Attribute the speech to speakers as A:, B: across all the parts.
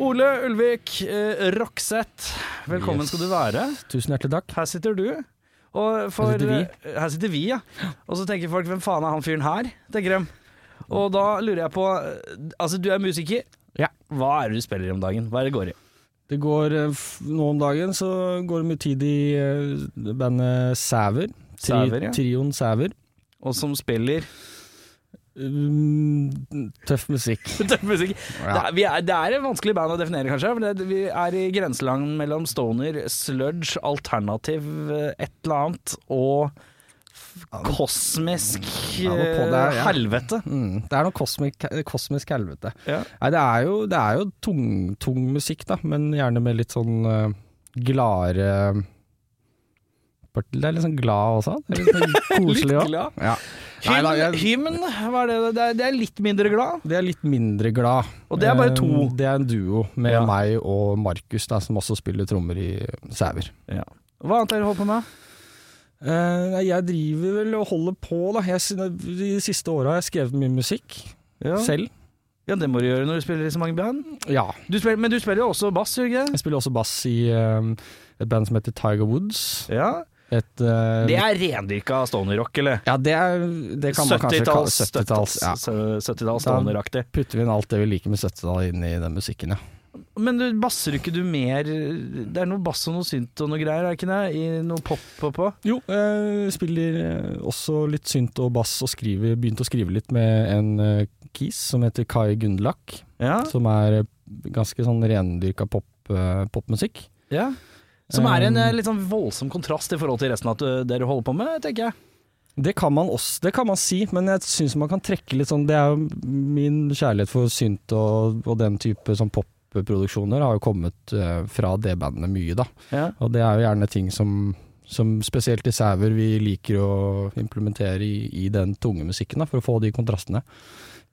A: Ole Ulvik eh, Rokseth, velkommen skal du være.
B: Tusen hjertelig takk.
A: Her sitter du. Og for,
B: Her sitter vi.
A: eh, Her sitter vi, ja. Og så tenker folk 'hvem faen er han fyren her?' tenker de. Og da lurer jeg på eh, Altså, du er musiker.
B: Ja.
A: Hva er det du spiller om dagen? Hva er det går i?
B: Det går, eh, f- nå om dagen så går det mye tid i eh, bandet Sæver. Tri,
A: Sæver, ja.
B: Trioen Sæver.
A: Og som spiller
B: Um, tøff musikk.
A: tøff musikk. Det, er, vi er, det er et vanskelig band å definere, kanskje. For det, vi er i grenseland mellom stoner, sludge, alternativ, eh, et eller annet, og f- kosmisk
B: Ja, det er på det,
A: eh,
B: ja.
A: helvete.
B: Mm, det er noe kosmisk, kosmisk helvete.
A: Ja.
B: Nei, det er jo, det er jo tung, tung musikk, da, men gjerne med litt sånn eh, gladere Det er litt sånn glad også. Det er litt sånn koselig
A: Litt
B: òg.
A: glad.
B: Ja. Nei,
A: Hymn,
B: da, jeg-
A: hymn hva er det? det er, det er litt mindre glad.
B: Det er litt mindre glad.
A: Og det er bare to.
B: Eh, Det er en duo med
A: Ja.
B: meg og Markus, da, som også spiller trommer i Sæver.
A: Hva annet er det du holder på med?
B: Eh, nei, jeg driver vel og holder på, da. Jeg, sy- de siste åra har jeg skrevet mye musikk
A: Se-
B: selv.
A: ja, det må du gjøre når du spiller i så mange band.
B: Ja.
A: Du spiller, men du spiller jo også bass, gjør du ikke det?
B: Jeg spiller også bass i eh, et band som heter Tiger Woods.
A: Ja.
B: Et eh,
A: Det er rendyrka stoner-rock, eller?
B: Ja, det er det kan man kanskje kalle
A: 70-talls
B: 70-talls. Ja.
A: 70 stoner-aktig.
B: Putter vi inn alt det vi liker med 70-tallet inn i den musikken, ja.
A: Men du, basser ikke du mer Det er noe bass og noe synt og noe greier, er det ikke det? I noe pop på på?
B: Jo, eh, spiller eh, også litt synt og bass og skriver, begynte å skrive litt med en eh, kis som heter Kai Gundlach.
A: Ja.
B: Som er eh, ganske sånn rendyrka pop, eh, popmusikk.
A: ja. Som er en
B: Um,
A: eh, litt sånn voldsom kontrast i forhold til resten av det dere holder på med, tenker jeg.
B: Eh, Det kan man også, det kan man si, men jeg syns man kan trekke litt sånn Det er jo min kjærlighet for synt og, og den type sånn popproduksjoner har jo kommet eh, fra det bandet mye, da.
A: Ja.
B: Og det er jo gjerne ting som, som spesielt i Sæver vi liker å implementere i, i den tunge musikken, da, for å få de kontrastene.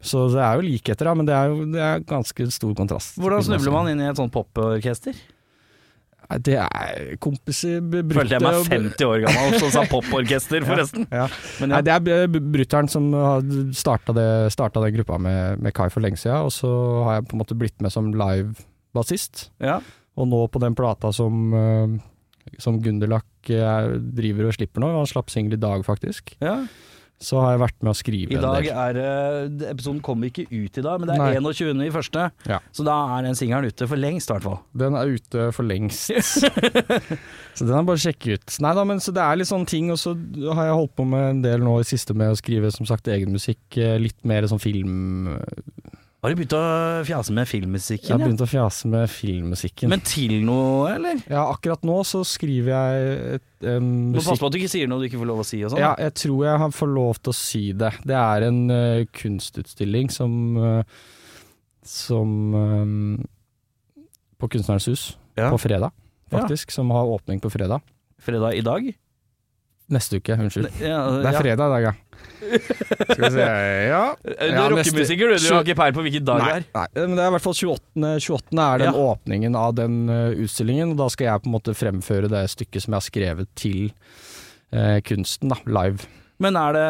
B: Så det er jo likheter, da, men det er jo det er ganske stor kontrast.
A: Hvordan snubler man inn i et sånt poporkester?
B: Nei, Det er kompiser b- brukte
A: Følte jeg meg
B: og-
A: 50 år gammel som sa poporkester, forresten.
B: Ja.
A: Men
B: Nei,
A: ja.
B: det er b- b- brutter'n som har starta, det, starta den gruppa med, med Kai for lenge siden, og så har jeg på en måte blitt med som live-bassist.
A: ja.
B: Og nå på den plata som, eh, som Gunderlach eh, driver og slipper nå, han slapp singel i dag faktisk,
A: ja.
B: så har jeg vært med å skrive
A: I
B: en
A: dag
B: del.
A: er det- Episoden kommer ikke ut i dag, men det er
B: Nei.
A: 21. i første.
B: Ja.
A: Så da er den singelen ute for lengst, i hvert fall.
B: Den er ute for lengst. så den er bare å sjekke ut. Nei da, men så det er litt sånne ting, og så har jeg holdt på med en del nå i siste med å skrive som sagt egen musikk, eh, litt mer sånn film...
A: Har du begynt å fjase med
B: Jeg har
A: filmmusikken?
B: begynt å fjase med filmmusikken.
A: Ja? Men til noe, eller?
B: Ja, akkurat nå så skriver jeg et, eh,
A: Du må passe
B: musikk...
A: på at du ikke sier noe du ikke får lov å si og sånn.
B: Ja, jeg tror jeg har får lov til å si det. Det er en eh, kunstutstilling som eh, Som eh, På Kunstnerens hus
A: Ja.
B: på fredag,
A: Ja.
B: faktisk. Som har åpning på fredag.
A: Fredag i dag?
B: Neste uke, unnskyld.
A: Ja,
B: Det er
A: ja.
B: fredag i dag, ja. Skal vi se Ja.
A: Du
B: Ja,
A: er
B: neste-
A: rockemusiker, du. Du har ikke peil på hvilken dag det
B: Nei,
A: er.
B: nei, men det er i hvert fall 28. 28. er den åpningen av den eh, utstillingen, og da skal jeg på en måte fremføre det stykket som jeg har skrevet til eh, kunsten, da, live.
A: Men er det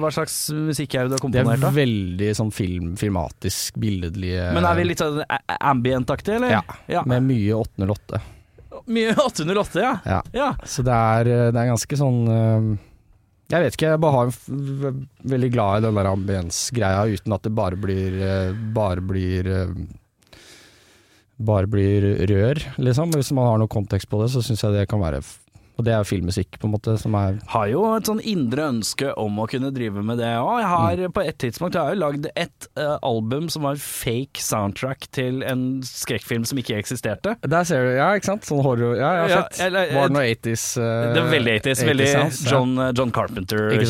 A: Hva slags musikk er det du har
B: Det er
A: komponert, da?
B: veldig sånn film, filmatisk, billedlige
A: Men er vi litt sånn a- a- ambient-aktig, eller?
B: Ja. Med mye 808.
A: Mye 808, ja.
B: Ja.
A: ja.
B: Så det er, eh, det er ganske sånn eh, Jeg vet ikke, jeg bare har en f v- veldig glad i den der ambiensgreia uten at det bare blir eh, Bare blir eh, Bare blir rør, liksom. Hvis man har noe kontekst på det, så syns jeg det kan være f- Og det er jo filmmusikk, på en måte, som er
A: Har jo et sånn indre ønske om å kunne drive med det. Og jeg har
B: Mm.
A: på et tidspunkt har jeg jo lagd et eh, album som var fake soundtrack til en skrekkfilm som ikke eksisterte.
B: Der ser du, ja, ikke sant? Sånn horror Ja, jeg
A: Ja,
B: har sett.
A: eller-
B: Var det noe 80s? eh,
A: Det er veldig 80s, veldig
B: 80s sounds, ja.
A: John, Eh, John
B: Ikke sant?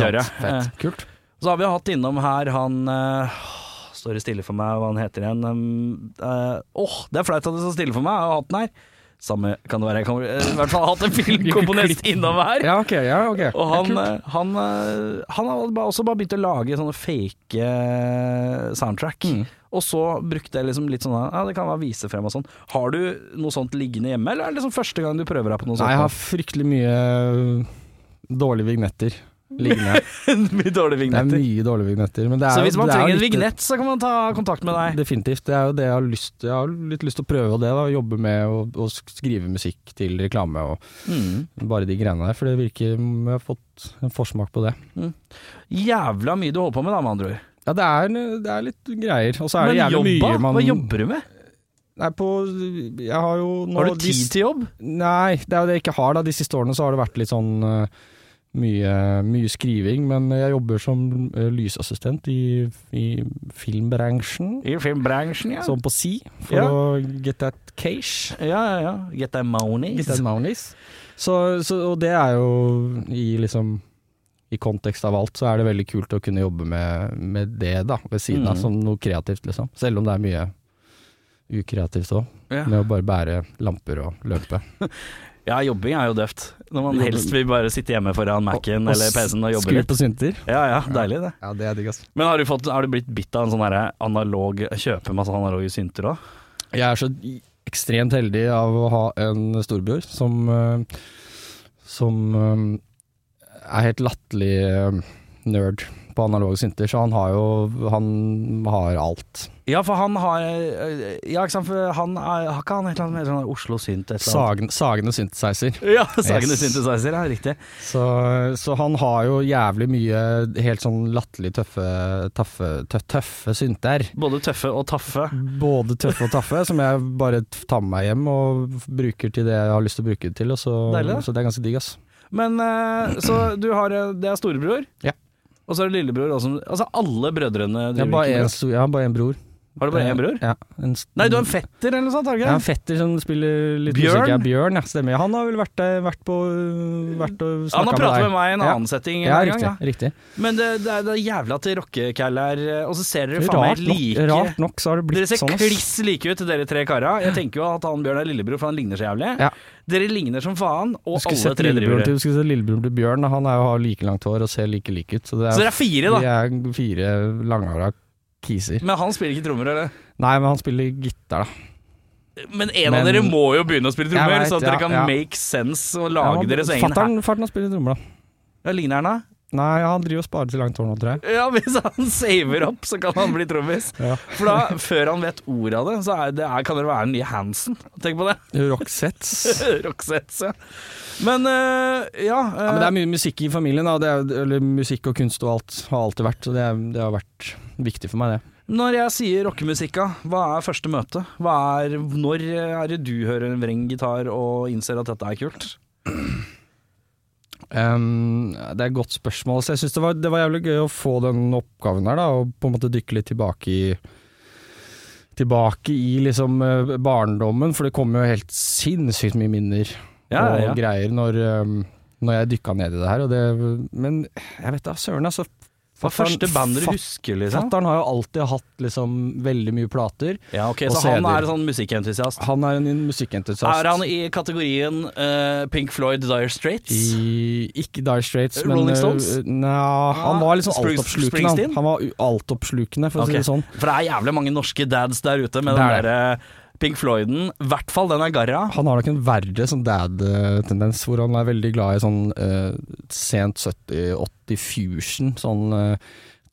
A: Carpenter-kjøret.
B: Fett. Kult.
A: Så har vi hatt innom her han eh, står det stille for meg hva han heter igjen Åh, um, eh, åh, det er flaut at det står stille for meg, jeg har hatt den her. Samme kan det være, jeg kan eh, i hvert fall ha hatt en filmkomponist innom her.
B: Ja, ok. ja, ok.
A: Og han, eh, han, eh, han har ba- også bare begynt å lage sånne fake eh, soundtrack.
B: Mm.
A: Og så brukte jeg liksom litt sånn Ja, det kan være vise frem og sånn. Har du noe sånt liggende hjemme, eller er det liksom første gang du prøver deg på noe
B: Nei, jeg har
A: sånt?
B: fryktelig mye øh, dårlige vignetter liggende.
A: Mye dårlige
B: Det er
A: vignetter.
B: mye dårlige vignetter. Men det er
A: Så
B: jo-
A: hvis man
B: det er jo
A: trenger en
B: litt-
A: vignett, så kan man ta kontakt med deg.
B: Definitivt. Det er jo det jeg har lyst Jeg har litt lyst til å prøve det. da Jobbe med å, å skrive musikk til reklame og bare de greiene der. For det virker Jeg har fått en forsmak på det.
A: Jævla mye du holder på med, da, med andre ord.
B: Ja, det er, det er litt greier. Og så er det
A: Men
B: jævlig
A: jobba?
B: mye man
A: Hva jobber du med?
B: Nei, på Jeg har jo nå
A: Har du
B: de
A: tid
B: s-
A: til jobb?
B: Nei, det er jo det jeg ikke har. da De siste årene så har det vært litt sånn eh, mye, mye skriving. Men jeg jobber som eh, lysassistent i, i filmbransjen.
A: I filmbransjen, ja.
B: Som på si, for
A: Ja.
B: å get that cash.
A: Ja, ja, ja. Get that money.
B: Get that monies. Så, så, og det er jo i liksom i kontekst av alt, så er det veldig kult å kunne jobbe med, med det da, ved siden av,
A: Mm.
B: som noe kreativt, liksom. Selv om det er mye ukreativt òg,
A: Ja.
B: med å bare bære lamper og løpe.
A: ja, jobbing er jo døvt. Når man
B: Jobber-
A: helst vil bare sitte hjemme foran Mac-en
B: Og- og
A: eller PC-en og jobbe
B: Skru
A: litt.
B: på synter.
A: Ja, ja, deilig det.
B: Ja, det er digg, ass.
A: Men har du, fått, har du blitt bitt av en sånn derre analog Kjøpe masse analoge synter òg?
B: Jeg er så ekstremt heldig av å ha en storbror som eh, Som eh, er helt latterlig eh, nerd på analoge synter, så han har jo Han har alt.
A: Ja, for han har Ja, ikke sant, for han er, har ikke han et eller annet med sånn Oslo Synt et eller annet?
B: Sagen, sagende synthesizer.
A: Ja, Sagene
B: Yes.
A: Synthesizer, ja, riktig.
B: Så, så han har jo jævlig mye helt sånn latterlig tøffe, tøffe, tø- tøffe synter.
A: Både tøffe og taffe.
B: Både tøffe og taffe, som jeg bare t- tar med meg hjem og f- bruker til det jeg har lyst til å bruke det til. Og så,
A: Deilig, da.
B: så det er ganske digg, ass.
A: Men eh, så du har eh, Det er storebror.
B: Ja.
A: Og så er det lillebror også. Altså alle brødrene
B: Jeg
A: driver
B: har bare
A: ikke
B: en
A: med
B: stor- jeg har bare én bror.
A: det. Har du bare én bror?
B: Ja. En, s-
A: Nei, du har en fetter eller noe sånt, har du
B: jeg har
A: ikke?
B: en fetter som spiller litt
A: Bjørn?
B: musikk. Ja, Bjørn, ja, stemmer. Han har vel vært, der- vært på eh, vært og snakka med deg.
A: Han har pratet med meg i en
B: Ja.
A: annen setting. en
B: Ja,
A: annen
B: riktig.
A: gang,
B: riktig.
A: ja. Men det, det, er, det er jævla til rockekall her, eh, og så ser dere faen meg
B: Rart nok,
A: like
B: rart nok så har det
A: Dere
B: blitt
A: ser
B: sånn. ass.
A: kliss like ut, dere tre kara. Jeg tenker jo at han Bjørn er lillebror, for han ligner så jævlig.
B: Ja.
A: Dere ligner som faen,
B: Du
A: og
B: skulle
A: alle
B: sett
A: tre driver
B: lillebroren
A: det.
B: til, du skulle sett lillebroren til Bjørn. da. Han er jo, har like langt hår og ser like lik ut. Så det
A: Så dere er
B: er,
A: fire, da.
B: vi er fire langhåra kiser.
A: Men han spiller ikke trommer, eller?
B: Nei, men han spiller gitar, da.
A: Men en
B: Men-
A: av dere må jo begynne å spille trommer,
B: Jeg vet,
A: så at dere
B: ja,
A: kan
B: ja.
A: make sense og
B: Ja,
A: lage
B: han-
A: deres egen her.
B: fatter'n- Fatter'n spiller trommer, da.
A: Ja, ligner han da?
B: Nei, han driver og sparer til langt hår nå, tror jeg.
A: Ja, hvis han saver opp, så kan han bli trommis.
B: Ja.
A: For da, før han vet ordet av det, så er det, er, kan det være den nye Hansen. Tenk på det.
B: Roxettes.
A: Roxettes, ja. Men øh, ja, øh,
B: Ja, men det er mye musikk i familien, da. Det er, eller musikk og kunst og alt har alltid vært, så det, er, det har vært viktig for meg, det.
A: Når jeg sier rockemusikka, hva er første møte? Hva er, når er det du hører en vreng gitar og innser at dette er kult?
B: Ehm, det er et godt spørsmål. Så jeg syns det, var- det var jævlig gøy å få den oppgaven der, da, og på en måte dykke litt tilbake i Tilbake i liksom eh, barndommen, for det kom jo helt sinnssykt mye minner og greier når, ehm, når jeg dykka ned i det her. Og det, men jeg vet da søren, altså.
A: Hva er første bandet du
B: fat-
A: husker, liksom?
B: Fatter'n har jo alltid hatt liksom veldig mye plater.
A: Ja, ok,
B: Og Ah,
A: Så han
B: CD-er.
A: er sånn musikkentusiast.
B: Han er en musikkentusiast.
A: Er han i kategorien eh, Pink Floyd, Dire Straits?
B: I, ikke Dire Straits, men
A: Rolling Stones? Ah,
B: øh, Nja, han var liksom
A: Spring-
B: altoppslukende.
A: Springsteen?
B: Han. han var u- altoppslukende, for å
A: Ok.
B: si det sånn.
A: For det er jævlig mange norske dads der ute med
B: Det
A: den
B: er det.
A: derre Pink Floyden. I hvert fall den er garra.
B: Han har nok en verre sånn dad-tendens, hvor han er veldig glad i sånn øh, sent 70-80-fusion. Sånn øh,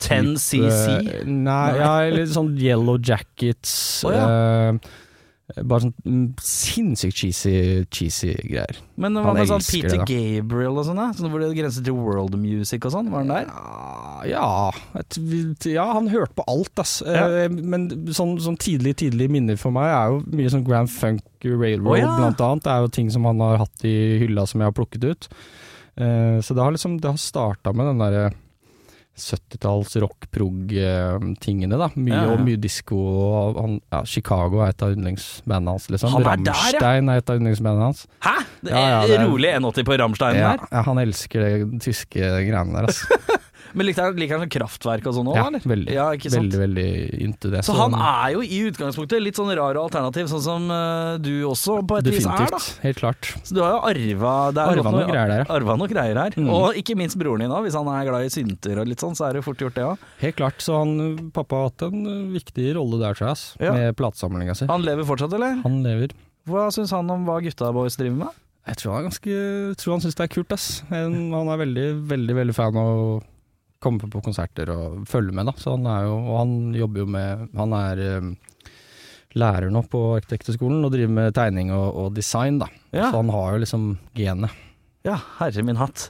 A: 10cc.
B: type- Nei, ja, eller sånn Yellow Jackets.
A: Å, ja.
B: øh, bare sånn mm, sinnssykt cheesy, cheesy greier.
A: Men hva
B: Han
A: med sånn
B: elsker
A: Peter
B: det, da.
A: Gabriel og sånn, da? Sånn hvor det grenser til world music og sånn? Var han der?
B: Ja, et, ja, han hørte på alt, ass. Eh, Men sånn, sånn tidlig, tidlig minner for meg er jo mye sånn Grand Funk Railroad,
A: Å, ja.
B: blant annet. Det er jo ting som han har hatt i hylla som jeg har plukket ut. Eh, så det har liksom Det har starta med den eh, derre 70-talls rock-prog-tingene, da. Mye
A: Ja, ja.
B: og mye disko. og Han, ja, Chicago er et av yndlingsbandene hans, liksom.
A: Han er der, ja.
B: Rammstein er et av yndlingsbandene hans.
A: Hæ?! Det er
B: Ja, ja, det er-
A: rolig 180 på Ramstein
B: Ja,
A: der.
B: ja, han elsker det tyske greiene der, altså.
A: Men likte han, liker han sånn kraftverk og sånn òg,
B: Ja,
A: eller?
B: veldig,
A: Ja, ikke sant?
B: veldig, veldig into det.
A: Så han er jo i utgangspunktet litt sånn rar og alternativ, sånn som eh, du også på et vis er, da.
B: Definitivt. Helt klart.
A: Så du har jo arva det er
B: Arva
A: godt
B: noe greier der, ja.
A: Arva noe greier her.
B: Mm.
A: Og ikke minst broren din òg, hvis han er glad i synter og litt sånn, så er det fort gjort det òg.
B: Helt klart. Så han, pappa har hatt en ø, viktig rolle der, tror jeg, ass,
A: Ja.
B: med platesamlinga si.
A: Han lever fortsatt, eller?
B: Han lever.
A: Hva syns han om hva gutta boys driver med?
B: Jeg tror han, er ganske, jeg tror han syns det er kult, ass. Han han er veldig, veldig veldig fan av å komme på konserter og følge med, da. Så han er jo, og han jobber jo med Han er ø, lærer nå på Arkitekthøgskolen og driver med tegning og, og design, da.
A: Ja.
B: Så han har jo liksom genet.
A: Ja, herre min hatt.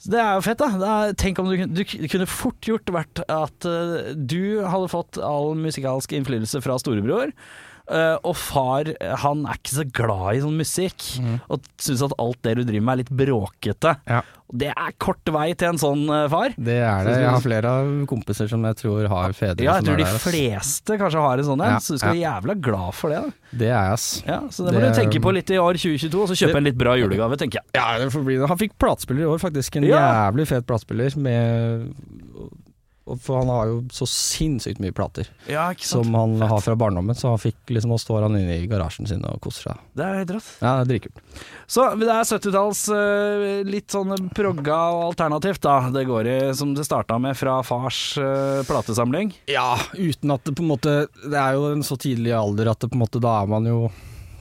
A: Så Det er jo fett, da. Det er, tenk om du, kunne- du k- kunne fort gjort vært at eh, du hadde fått all musikalsk innflytelse fra storebror. eh, og far eh, han er ikke så glad i sånn musikk, og syns at alt det du driver med er litt bråkete.
B: Ja.
A: Og Det er kort vei til en sånn eh, far.
B: Det er det.
A: Så-
B: Jeg har flere av kompiser som jeg tror har fedre
A: Ja, jeg tror
B: som er
A: de
B: der. ass.
A: fleste kanskje har en sånn en,
B: Ja,
A: så du skal være jævla glad for det. Da.
B: Det er jeg, ass.
A: Ja, så det må
B: Det-
A: du tenke på litt i år 2022, og så kjøpe en litt bra julegave, tenker jeg.
B: Ja, det får bli det. Han fikk platespiller i år, faktisk. En
A: Ja.
B: jævlig fet platespiller. Med, og- for han har jo så sinnssykt mye plater
A: Ja, ikke sant.
B: som han har fra barndommen, så han fikk liksom, nå står han inne i garasjen sin og koser seg.
A: Det er helt rått.
B: Ja, det er dritkult.
A: Så det er 70-talls eh, litt sånn progga og alternativt, da. Det går i som det starta med fra fars eh, platesamling.
B: Ja, uten at det på en måte Det er jo en så tidlig alder at det på en måte da er man jo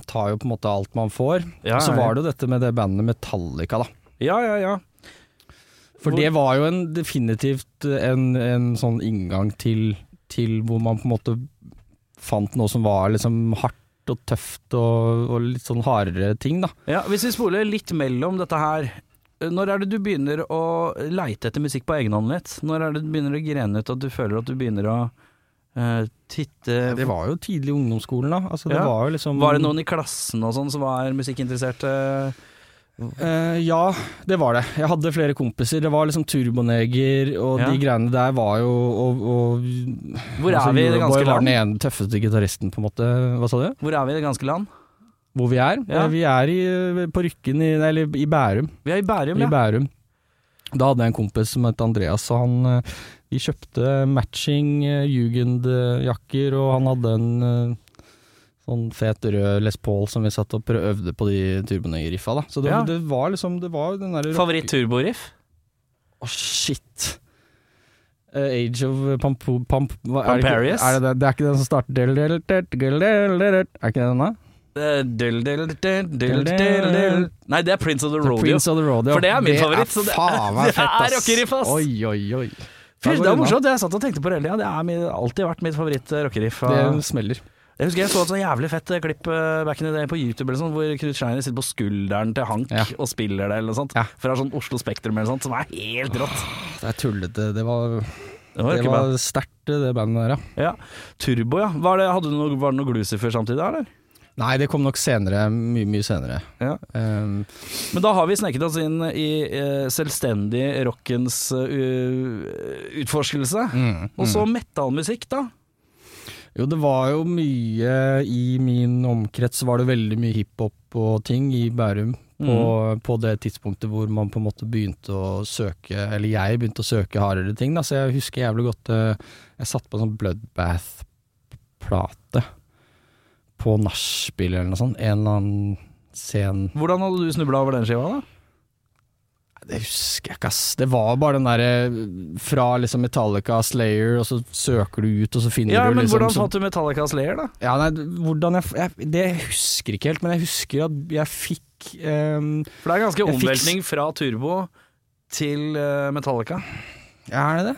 B: Tar jo på en måte alt man får.
A: Ja,
B: så var det jo dette med det bandet Metallica, da.
A: Ja, ja, ja.
B: For det var jo en, definitivt en, en sånn inngang til, til hvor man på en måte fant noe som var liksom hardt og tøft og, og litt sånn hardere ting, da.
A: ja. Hvis vi spoler litt mellom dette her. eh, Når er det du begynner å leite etter musikk på egen hånd litt? Når er det du begynner å grene ut at du føler at du begynner å eh, titte
B: Det var jo tidlig i ungdomsskolen, da. Altså, det
A: Ja.
B: var, jo liksom,
A: Var det noen i klassen og sånn som var musikkinteresserte?
B: Eh, ja, det var det. Jeg hadde flere kompiser. Det var liksom Turboneger og
A: Ja.
B: de greiene der var jo og, og,
A: Hvor er vi i det ganske
B: Euroboy Altså, var
A: land?
B: den ene tøffeste gitaristen, på en måte. Hva sa du?
A: Hvor er vi i det ganske land?
B: Hvor vi er?
A: Ja.
B: Eh, Vi er i, på Rykken, i, eller i Bærum.
A: Vi er i Bærum,
B: I
A: ja.
B: Bærum. Da hadde jeg en kompis som het Andreas, og han eh, Vi kjøpte matching eh, Jugend-jakker, og han hadde en eh, sånn fet rød Les Paul som vi satt og prø- øvde på de turbonøye-riffa, da. Så det,
A: Ja.
B: det var liksom Det var den derre
A: Favoritt-turboriff?
B: Å, shit! Eh, Age of Pamp... Pamp hva, er det ikke-
A: Pamperius?
B: Er det, det, det er ikke den som starter del, del, del, del, del, del, del. Er ikke det denne?
A: Eh, Dill, dill, dill, dill, dill, dill. Nei, det er Prince of the Rodeo.
B: Prince of the Rodeo.
A: For det er min favoritt, så det-
B: Det er faen meg
A: det
B: fett,
A: er
B: ass!
A: rockeriff, ass.
B: Oi, oi, oi.
A: Fy, det
B: Da går
A: er
B: det unna.
A: morsomt, jeg satt og tenkte på det hele tida. Det har alltid vært mitt favoritt-rockeriff.
B: Det smeller.
A: Jeg husker jeg så et sånn jævlig fett eh, klipp eh, back in the day på YouTube eller sånn, hvor Knut Scheiner sitter på skulderen til Hank
B: Ja.
A: og spiller det eller noe sånt.
B: Ja.
A: Fra sånn Oslo Spektrum eller noe sånt, som er helt rått.
B: Det er tullete. Det var,
A: Det var
B: det
A: ikke bad.
B: var sterkt, det bandet der, ja.
A: ja. Turbo, ja. Var det, hadde du noe, var det noe Glucifer samtidig, eller?
B: Nei, det kom nok senere. Mye, mye senere.
A: Ja.
B: Um,
A: Men da har vi sneket oss inn i eh, selvstendig rockens eh, utforskelse. Og så metallmusikk, da.
B: mm. Jo, det var jo mye I min omkrets var det veldig mye hiphop og ting i Bærum. På,
A: Mm.
B: på det tidspunktet hvor man på en måte begynte å søke, eller jeg begynte å søke hardere ting. Da. Så jeg husker jævlig godt eh, Jeg satt på en sånn Bloodbath-plate på nachspiel eller noe sånt. En eller annen sen
A: Hvordan hadde du snubla over den skiva, da?
B: Det husker jeg ikke, ass. Det var bare den derre fra liksom Metallica, Slayer, og så søker du ut, og så finner
A: Ja,
B: du
A: men
B: liksom
A: Hvordan
B: så-
A: fant du Metallica Slayer, da?
B: ja, nei, hvordan jeg, jeg Det husker ikke helt, men jeg husker at jeg fikk ehm,
A: For det er ganske
B: Jeg fikk-
A: omveltning fra Turbo til eh, Metallica.
B: Er det det?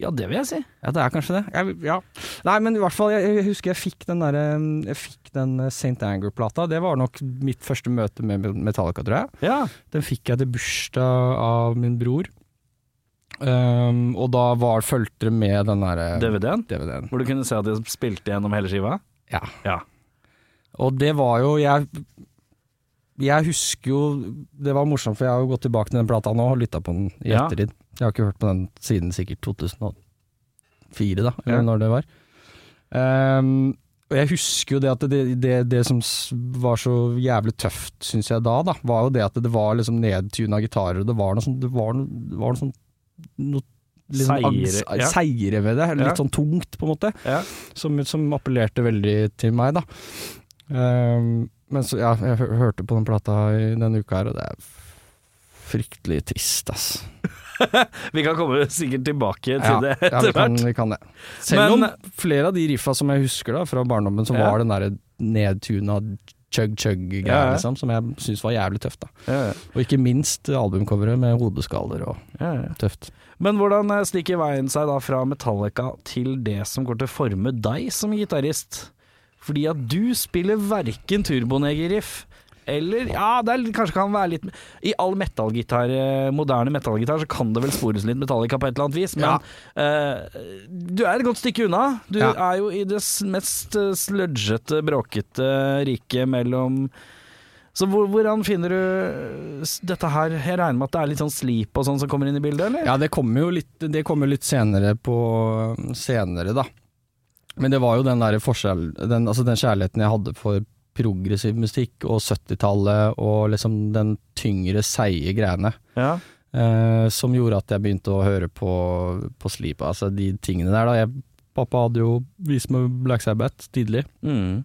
A: Ja, det vil jeg si.
B: Ja, det er kanskje det. Jeg, ja. Nei, men i hvert fall, jeg, jeg husker jeg fikk den derre Jeg fikk den eh, St. Anger-plata. Det var nok mitt første møte med Metallica, tror jeg.
A: Ja.
B: Den fikk jeg til bursdag av min bror. Ehm, og da var fulgte det med den derre
A: DVD-en.
B: DVD-en.
A: Hvor du kunne se at de spilte gjennom hele skiva.
B: Ja.
A: Ja.
B: Og det var jo jeg, jeg husker jo Det var morsomt, for jeg har jo gått tilbake til den plata nå og lytta på den i
A: Ja.
B: ettertid. Jeg har ikke hørt på den siden sikkert 2004, da, eller
A: Ja.
B: når det var. Ehm, og jeg husker jo det at det, det, det som s- var så jævlig tøft, syns jeg da, da, var jo det at det var liksom nedtuna gitarer, og det var noe sånn, det var noe, det var noe sånn noe litt sånn
A: Seire,
B: ans-
A: ja.
B: seire ved det. Litt
A: Ja.
B: sånn tungt, på en måte.
A: Ja.
B: Som, som appellerte veldig til meg, da. Ehm, men så, ja, jeg hø- hørte på den plata i denne uka her, og det er f- fryktelig trist, ass.
A: Vi kan komme sikkert tilbake til det
B: ja,
A: etter
B: vi kan,
A: hvert.
B: vi kan det. Selv
A: Men-
B: om flere av de riffa som jeg husker da fra barndommen, som
A: Ja.
B: var den derre nedtuna chug-chug-greia,
A: Ja, ja.
B: liksom, som jeg syns var jævlig tøft. da
A: Ja, ja,
B: Og ikke minst albumcoveret med hodeskaller og
A: ja, ja.
B: tøft.
A: Men hvordan eh, sniker veien seg da fra Metallica til det som går til å forme deg som gitarist? Fordi at du spiller verken turboneger-riff eller Ja, det er, litt- kanskje kan være litt I all metalgitar, eh, moderne metallgitar, så kan det vel spores litt Metallica på et eller annet vis, men
B: Ja.
A: eh, du er et godt stykke unna. Du
B: Ja.
A: er jo i det s- mest eh, sludgete, bråkete riket mellom så hvor, hvordan finner du s- dette her? Jeg regner med at det er litt sånn sleep og sånn som kommer inn i bildet, eller?
B: Ja, det kommer jo litt, det kommer litt senere på Senere, da. Men det var jo den der forskjell den, altså den kjærligheten jeg hadde for progressiv musikk og 70-tallet og liksom den tyngre, seige greiene.
A: Ja.
B: Eh, som gjorde at jeg begynte å høre på, på Sleep, altså de tingene der. da jeg, Pappa hadde jo vist meg Black Sabbath tidlig,
A: Mm.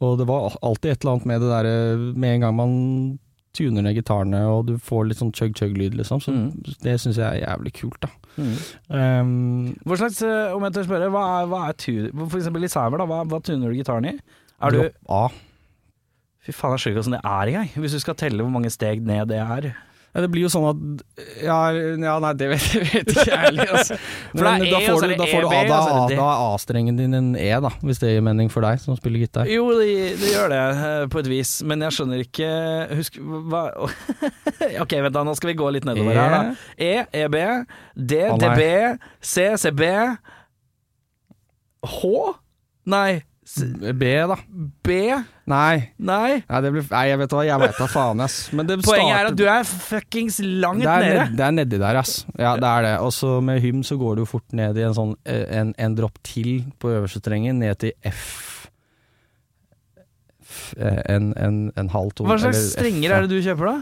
B: og det var alltid et eller annet med det derre Med en gang man tuner ned gitarene og du får litt sånn chug-chug-lyd, liksom, så
A: Mm.
B: det syns jeg er jævlig kult, da. Ehm,
A: Hva slags, eh, om jeg tør spørre, hva er, hva er tu- For eksempel i Sæver, da, hva, hva tuner du gitaren i? Er du
B: dropp A.
A: Fy faen, jeg skjønner ikke åssen det er engang, hvis du skal telle hvor mange steg ned det er.
B: Ja, det blir jo sånn at Ja, ja nei, det vet, det vet ikke jeg heller, altså.
A: For det er
B: Men
A: E,
B: da
A: og så
B: får
A: er
B: du,
A: det
B: da får du
A: EB,
B: A, da,
A: og så er
B: er
A: det D.
B: da er A-strengen din en E, da, hvis det gir mening for deg som spiller gitar.
A: Jo, det, det gjør det, eh, på et vis, men jeg skjønner ikke Husk hva Ok, vent, da, nå skal vi gå litt nedover her, da. E, EB, D,
B: Å, nei.
A: DB, C, CB H? Nei. S-
B: B, da.
A: B?
B: Nei.
A: Nei.
B: Nei, det blir, nei, jeg vet hva, jeg vet da faen, ass. Men det
A: Poenget er
B: starter-
A: at du er fuckings langt
B: det er,
A: nede.
B: ned, det er nedi der, ass. Ja, det er det. Og så med hym så går det jo fort ned i en sånn En, en dropp til på øverste strengen, ned til F. F eh, en, en, en halv tone.
A: Hva slags strenger er det du kjøper, da?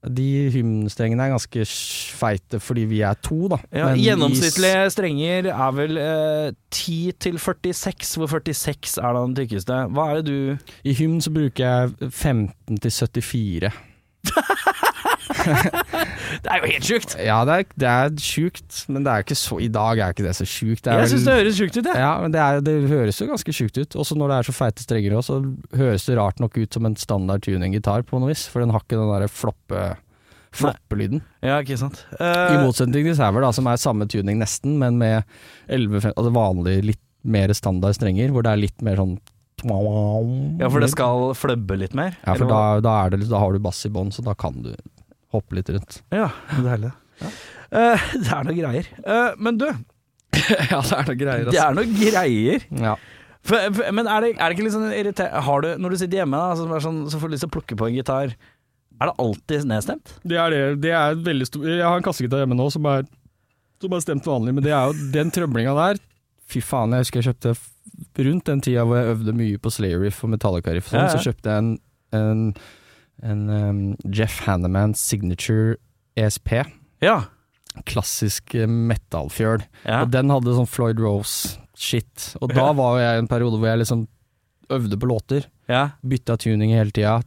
B: De hymnstrengene er ganske sj- feite fordi vi er to, da.
A: Ja,
B: Men i s-
A: gjennomsnittlige strenger er vel eh, 10 til 46, hvor 46 er da den tykkeste. Hva er det du
B: I hymn så bruker jeg 15 til 74.
A: Det er jo helt sjukt!
B: Ja, det er, det er sjukt, men det er ikke så I dag er ikke det så sjukt. Det er
A: Jeg syns
B: vel-
A: det høres sjukt ut, jeg.
B: Ja, men det, er, det høres jo ganske sjukt ut. Også når det er så feite strenger også, så høres det rart nok ut som en standard tuning-gitar på noe vis, for den har ikke den derre floppe, floppelyden.
A: Ja, ikke sant. Eh,
B: I motsetning til Sauer, da, som er samme tuning nesten, men med 11, fem- altså vanlig litt mer standard strenger, hvor det er litt mer sånn
A: ja, for det skal fløbbe litt mer?
B: Mm. Ja, for
A: eller
B: da,
A: hva?
B: da, er det, litt- da har du bass i bånn, så da kan du hoppe litt rundt.
A: Ja, deilig. Eh, det er noe greier. Eh, men du,
B: ja, det er noen greier,
A: det altså. er noe greier.
B: Ja.
A: For, for, men er det, er det ikke litt sånn irriterende Har du, Når du sitter hjemme da, så, er det sånn, så får du lyst til å plukke på en gitar, er det alltid nedstemt?
B: Det er det. Det er et veldig stor Jeg har en kassegitar hjemme nå som er, som er stemt vanlig, men det er jo den trøblinga der Fy faen, jeg husker jeg kjøpte f- rundt den tida hvor jeg øvde mye på Slayer Riff og Metallica Riff, og
A: Ja,
B: sånn,
A: ja.
B: så kjøpte jeg en, en, en um, Jeff Hanneman Signature ESP.
A: Ja.
B: Klassisk eh, metal-fjøl.
A: ja.
B: Og den hadde sånn Floyd Rose-shit. Og da
A: Ja.
B: var jo jeg i en periode hvor jeg liksom øvde på låter,
A: ja.
B: bytta tuning hele tida,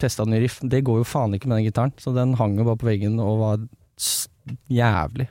B: testa ny riff. Det går jo faen ikke med den gitaren, så den hang jo bare på veggen og var s- jævlig.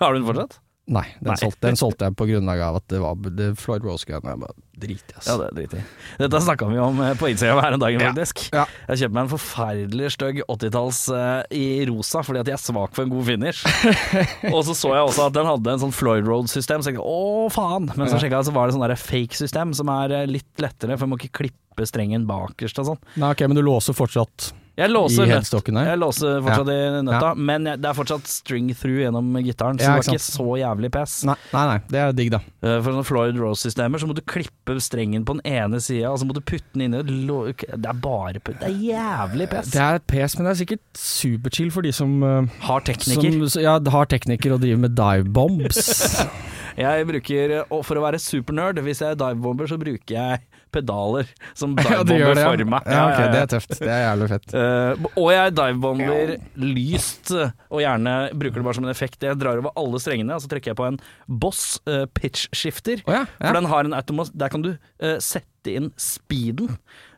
A: Har du den fortsatt?
B: Nei, den,
A: Nei.
B: Solgte, den solgte jeg på grunnlag av at det var det Floyd Rose-greiene. Jeg bare drit i, ass.
A: Ja, det driter jeg i. Dette snakka vi om eh, på Instagram her en dag,
B: Ja,
A: faktisk.
B: ja.
A: Jeg kjøpte meg en forferdelig stygg 80-talls eh, i rosa fordi at jeg er svak for en god finish. og så så jeg også at den hadde en sånn Floyd Road-system, så jeg tenkte å faen. Men så sjekka jeg, så var det sånn der fake-system som er eh, litt lettere, for du må ikke klippe strengen bakerst og sånn.
B: Nei, ok, men du låser fortsatt
A: Jeg låser
B: i
A: nøtt.
B: headstocken her?
A: Jeg låser fortsatt i nøtta, men jeg, det er fortsatt string through gjennom gitaren, så
B: Ja,
A: det var
B: ikke
A: ikke så jævlig pes.
B: Nei, nei, nei, det er digg, da.
A: Eh, For sånne Floyd Rose-systemer så må du klippe strengen på den ene sida, og så må du putte den inn i et lå... Det er bare pu- Det er jævlig pes.
B: Det er pes, men det er sikkert superchill for de som, eh,
A: Har tekniker.
B: som ja, har tekniker og driver med dive bombs.
A: eh, Jeg bruker Og for å være supernerd, hvis jeg er divebomber, så bruker jeg pedaler som
B: Ja, det
A: divebomber
B: gjør det, ja.
A: for meg.
B: Ja,
A: Ja, ja,
B: ok,
A: ja.
B: det er tøft. Det er jævlig fett.
A: Eh, og jeg divebomber lyst, eh, og gjerne bruker det bare som en effekt. Jeg drar over alle strengene, og så trekker jeg på en Boss eh, pitch shifter.
B: Å ja, ja.
A: For den har en automat Der kan du eh, sette inn speeden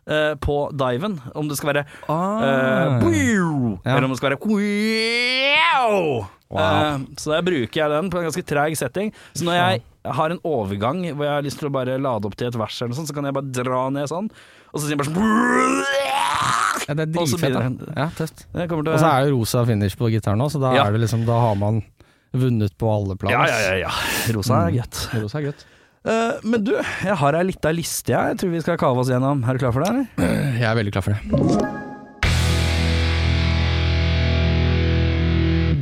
A: eh, på diven. Om det skal være eh, boiu,
B: Ah. Ja.
A: Eller om det skal være wow. Eh, så der bruker jeg den på en ganske treg setting. Så når jeg har en overgang hvor jeg har lyst til å bare lade opp til et vers, eller noe sånt, så kan jeg bare dra ned sånn, og så sier jeg bare sånn
B: ja, det er
A: Og så
B: dritfett.
A: begynner
B: da.
A: den.
B: Ja, tøft.
A: Det kommer til
B: Og så er det rosa finish på gitaren òg, så da,
A: Ja.
B: er det liksom, da har man vunnet på alle plan.
A: ja,
B: ass.
A: ja, ja, ja. Rosa
B: Mm.
A: er gøtt.
B: Rosa er godt.
A: Eh, men du, jeg har ei lita liste jeg. jeg tror vi skal kave oss gjennom. Er du klar for det, eller?
B: Jeg er veldig klar for det.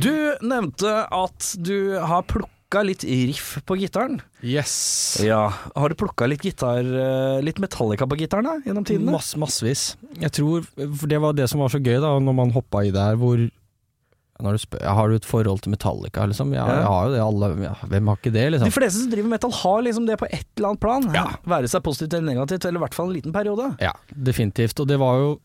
A: Du nevnte at du har plukka litt riff på gitaren.
B: Yes.
A: Ja. Har du plukka litt gitar, eh, litt Metallica på gitaren da, gjennom tidene?
B: Mass, massevis. Jeg tror for Det var det som var så gøy, da, når man hoppa i det her, hvor når du spør, ja, Har du et forhold til Metallica, liksom? Ja,
A: Ja.
B: jeg har jo det, alle ja, Hvem har ikke det,
A: De
B: liksom?
A: fleste som driver med metal har liksom det på et eller annet plan.
B: Ja.
A: Være seg positivt eller negativt, eller i hvert fall en liten periode.
B: Ja, definitivt. Og det var jo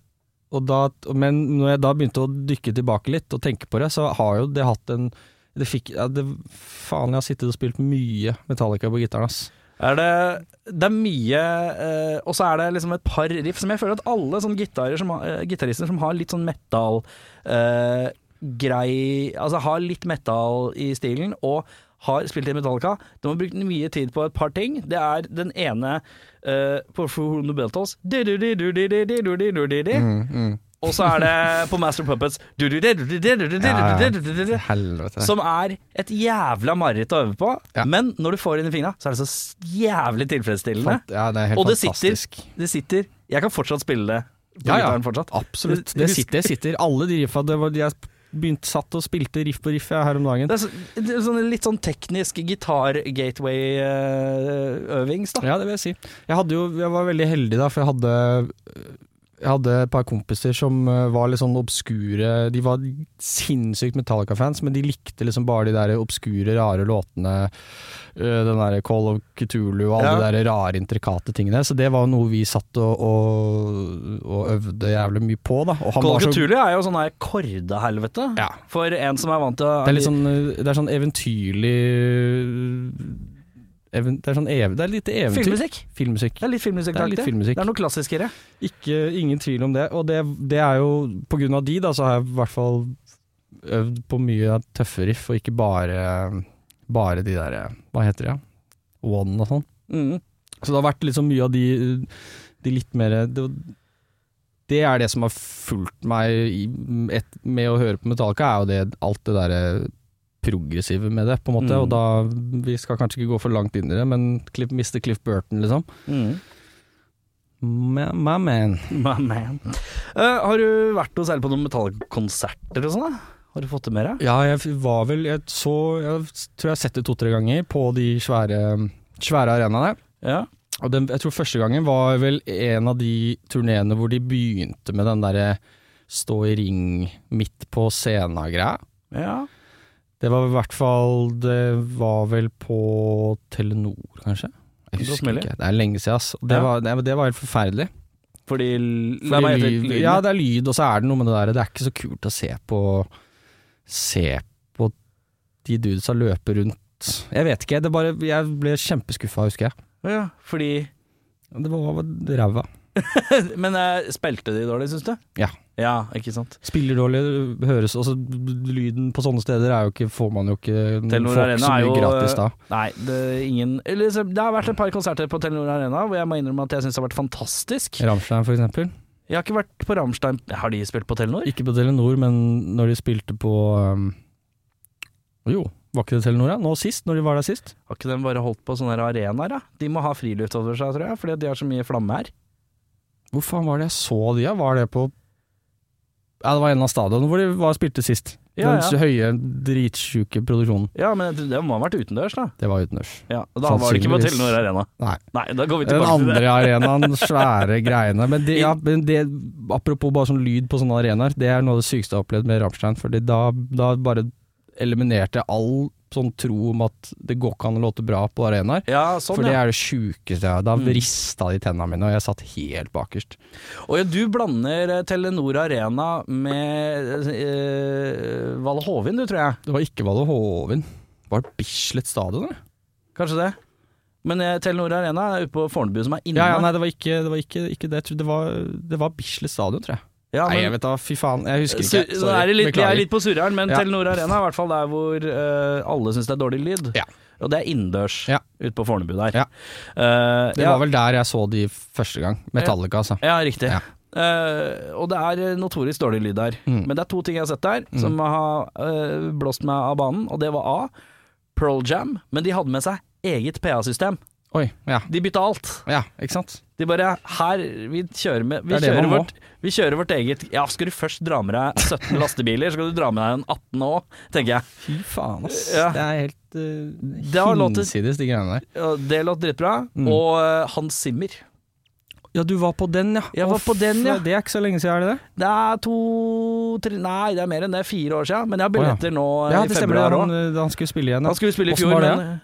B: og da, Men når jeg da begynte å dykke tilbake litt og tenke på det, så har jo det hatt en det fikk, ja, det, faen, jeg har sittet og spilt mye Metallica på gitaren, ass.
A: Er det, det er mye eh, Og så er det liksom et par riff som jeg føler at alle sånne gitarer som, har- eh, gitarister som har litt sånn metal eh, grei Altså har litt metal i stilen og har spilt i Metallica. De har brukt mye tid på et par ting. Det er den ene eh, på Fru Nobeltos
B: Mm.
A: Og så er det på Master Puppets
B: Helvete.
A: som er et jævla mareritt å øve på,
B: Ja.
A: men når du får det inn i fingra, så er det så s- jævlig tilfredsstillende.
B: Fant, ja, det er helt
A: Og det sitter,
B: fantastisk.
A: det sitter Jeg kan fortsatt spille det på
B: Ja, ja.
A: gitaren fortsatt.
B: Absolutt.
A: Husk-
B: Det sitter, det sitter. Alle de riffa det var, Jeg begynte, satt og spilte riff på riff jeg, her om dagen.
A: Det er, så, det er sånn litt sånn teknisk gitar-gateway-øvings, da.
B: Ja, det vil jeg si. Jeg, hadde jo, jeg var veldig heldig da, for jeg hadde jeg hadde et par kompiser som eh, var litt sånn obskure De var sinnssykt Metallica-fans, men de likte liksom bare de der obskure, rare låtene. eh, Den der Call of Cthulhu og alle
A: Ja.
B: de der rare, intrikate tingene. Så det var noe vi satt og, og, og øvde jævlig mye på, da. Og han
A: Call
B: var
A: of
B: så-
A: Cthulhu er jo sånn her kordehelvete
B: Ja.
A: for en som er vant til å
B: Det er litt sånn, det er sånn eventyrlig even, Det er sånn ev, Det er litt eventyr.
A: filmmusikk.
B: Filmmusikk.
A: Det er litt filmmusikk.
B: Det er litt
A: taktig.
B: filmmusikk.
A: Det er noe klassiskere.
B: Ikke, ingen tvil om det. Og det, det er jo På grunn av de, da, så har jeg i hvert fall øvd på mye tøffe riff, og ikke bare, bare de derre Hva heter de, ja? One og sånn.
A: Mm.
B: Så det har vært liksom mye av de, de litt mer det, det er det som har fulgt meg i, et, med å høre på Metallica, er jo det, alt det derre progressive med det, på en måte.
A: Mm.
B: Og da Vi skal kanskje ikke gå for langt inn i det, men Cliff, Mr. Cliff Burton, liksom.
A: Mm.
B: My, my man.
A: My man. Eh, har du vært og seilt på noen metallkonserter og sånn, da? Har du fått det med deg?
B: Ja, jeg f- var vel Jeg så Jeg tror jeg har sett det to-tre ganger på de svære, svære arenaene.
A: Ja.
B: Og den, jeg tror første gangen var vel en av de turneene hvor de begynte med den derre stå i ring midt på scena-greia.
A: ja.
B: Det var i hvert fall Det var vel på Telenor, kanskje? Jeg
A: Godt
B: husker
A: mulig.
B: ikke. Det er lenge siden, ass. Og Det,
A: Ja.
B: var, nei, men det var helt forferdelig.
A: Fordi, l-
B: Fordi
A: Nei, hva heter det?
B: lyd-
A: Lyden?
B: ja, det er lyd, og så er det noe med det der Det er ikke så kult å se på Se på de dudesa løpe rundt Jeg vet ikke, det bare Jeg ble kjempeskuffa, husker jeg.
A: Ja, fordi
B: Det var var ræva.
A: Men eh, spilte de dårlig, syns du?
B: Ja.
A: Ja, ikke sant.
B: Spiller dårlig, høres også Lyden på sånne steder er jo ikke Får man jo ikke
A: Telenor
B: folk
A: Arena er
B: så mye
A: jo,
B: gratis da.
A: Nei, det er ingen Eller så- det har vært et par konserter på Telenor Arena hvor jeg må innrømme at jeg syns det har vært fantastisk.
B: Ramstein, for eksempel.
A: Jeg har ikke vært på Ramstein Har de spilt på Telenor?
B: Ikke på Telenor, men når de spilte på um, Jo, var ikke det Telenor, ja? Nå sist, når de var der sist?
A: Har ikke de bare holdt på sånne her arenaer, da? De må ha friluft over seg, tror jeg, fordi de har så mye flamme her.
B: Hvor faen var det jeg så de, ja? Var det på Ja, det var en av stadionene hvor de var og spilte sist.
A: Ja,
B: Den høye, dritsjuke produksjonen.
A: Ja, men det det må ha vært utendørs, da.
B: Det var utenørs.
A: Ja, og Da var det ikke på
B: Sannsynligvis.
A: Telenor Arena.
B: Nei.
A: Nei, da går vi
B: Den
A: tilbake til det.
B: andre arenaen, den svære greiene. Men det, ja, men det, apropos bare sånn lyd på sånne arenaer, det er noe av det sykeste jeg har opplevd med Rammstein. Fordi da, da bare eliminerte jeg all sånn tro om at det går ikke an å låte bra på arenaer.
A: Ja, sånn,
B: for det
A: ja.
B: er det sjukeste jeg har. Da
A: Mm.
B: vrista de tennene mine, og jeg satt helt bakerst.
A: Og ja, du blander eh, Telenor Arena med eh, Valle Hovin, du, tror jeg.
B: Det var ikke Valle Hovin. Var det Bislett stadion, eller?
A: Kanskje det. Men eh, Telenor Arena er ute på Fornebu, som er inne.
B: Ja, ja, nei, det var ikke det. Var ikke, ikke det. Jeg tror Det, var, det var Bislett stadion, tror jeg.
A: Ja, men-
B: nei, jeg vet da, fy faen. Jeg husker
A: Så,
B: ikke.
A: så er det litt, vi er
B: Beklager.
A: litt på surreren, men
B: Ja.
A: Telenor Arena er i hvert fall der hvor eh, alle syns det er dårlig lyd.
B: Ja.
A: Og det er innendørs
B: Ja.
A: ute på Fornebu der.
B: Ja.
A: Eh,
B: Det
A: ja,
B: var vel der jeg så de første gang. Metallica, altså.
A: ja, riktig.
B: Ja.
A: Eh, og det er notorisk dårlig lyd der.
B: Mm.
A: Men det er to ting jeg har sett der som har eh, blåst meg av banen, og det var A. Pearl Jam, men de hadde med seg eget PA-system.
B: Oi, ja.
A: De bytta alt.
B: Ja, ikke sant?
A: De bare Her, vi kjører med Vi,
B: Det er det
A: kjører
B: man må.
A: vårt, vi kjører vårt eget Ja, skal du først dra med deg 17 lastebiler, så skal du dra med deg en 18 òg, tenker jeg.
B: Fy faen, ass.
A: Ja.
B: Det er helt
A: Det var
B: uh,
A: låter-
B: hinsides, de greiene der.
A: Ja, Det låt dritbra.
B: Mm.
A: Og eh, Hans Zimmer.
B: Ja, du var på den, ja.
A: Jeg var
B: Å,
A: på den,
B: f-
A: ja.
B: Det er ikke så lenge siden, er det det?
A: Det er to tre, Nei, det er mer enn det. Fire år siden. Men jeg har
B: Å, ja.
A: billetter nå eh,
B: Ja,
A: i
B: det stemmer. det.
A: februar
B: Han,
A: òg.
B: uh, han skulle spille igjen.
A: Han
B: Ja.
A: skulle spille i fjor,
B: Hvordan var det,
A: men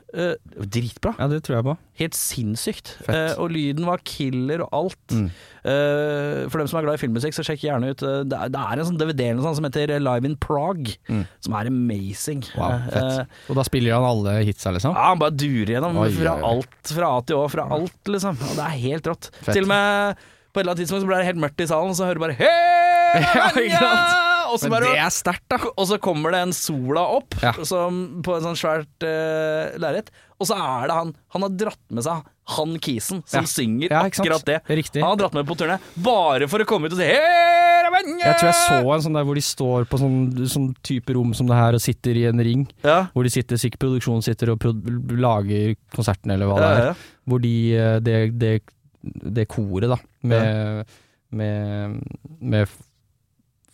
A: eh, Dritbra.
B: ja, det tror jeg på.
A: Helt sinnssykt.
B: Fett.
A: Eh, og lyden var killer og alt.
B: Mm.
A: Eh, for dem som er glad i filmmusikk, så sjekk gjerne ut eh, det, er, det er en sånn DVD eller noe sånt som heter eh, Live in Prague,
B: Mm.
A: som er amazing.
B: Wow, fett.
A: Eh,
B: Og da spiller han alle hitsa, liksom?
A: Ja, han bare durer gjennom
B: Oi,
A: fra
B: oi, oi.
A: alt, fra A til Å, fra alt, liksom. Og det er helt rått.
B: Fett.
A: Til og med på et eller annet tidspunkt så ble det helt mørkt i salen, så hører du bare Hei,
B: Ja, ikke
A: Vanja!»
B: sant?
A: Og så
B: Men
A: bare-
B: det er sterkt, da.
A: Og så kommer det en sola opp
B: Ja.
A: som, på en sånn svært uh, lerret, og så er det han Han har dratt med seg han kisen som
B: Ja.
A: synger
B: Ja, ikke sant?
A: akkurat det.
B: Riktig.
A: Han har dratt med på turné bare for å komme ut og si Hei, Vanja!»
B: Jeg tror jeg så en sånn der hvor de står på sånn, sånn type rom som det her og sitter i en ring.
A: ja.
B: Hvor de sitter, sikkert produksjonen sitter og prod lager konserten eller hva
A: Ja,
B: det er.
A: ja.
B: Hvor de, eh, det, det, det koret da, med, med, med f-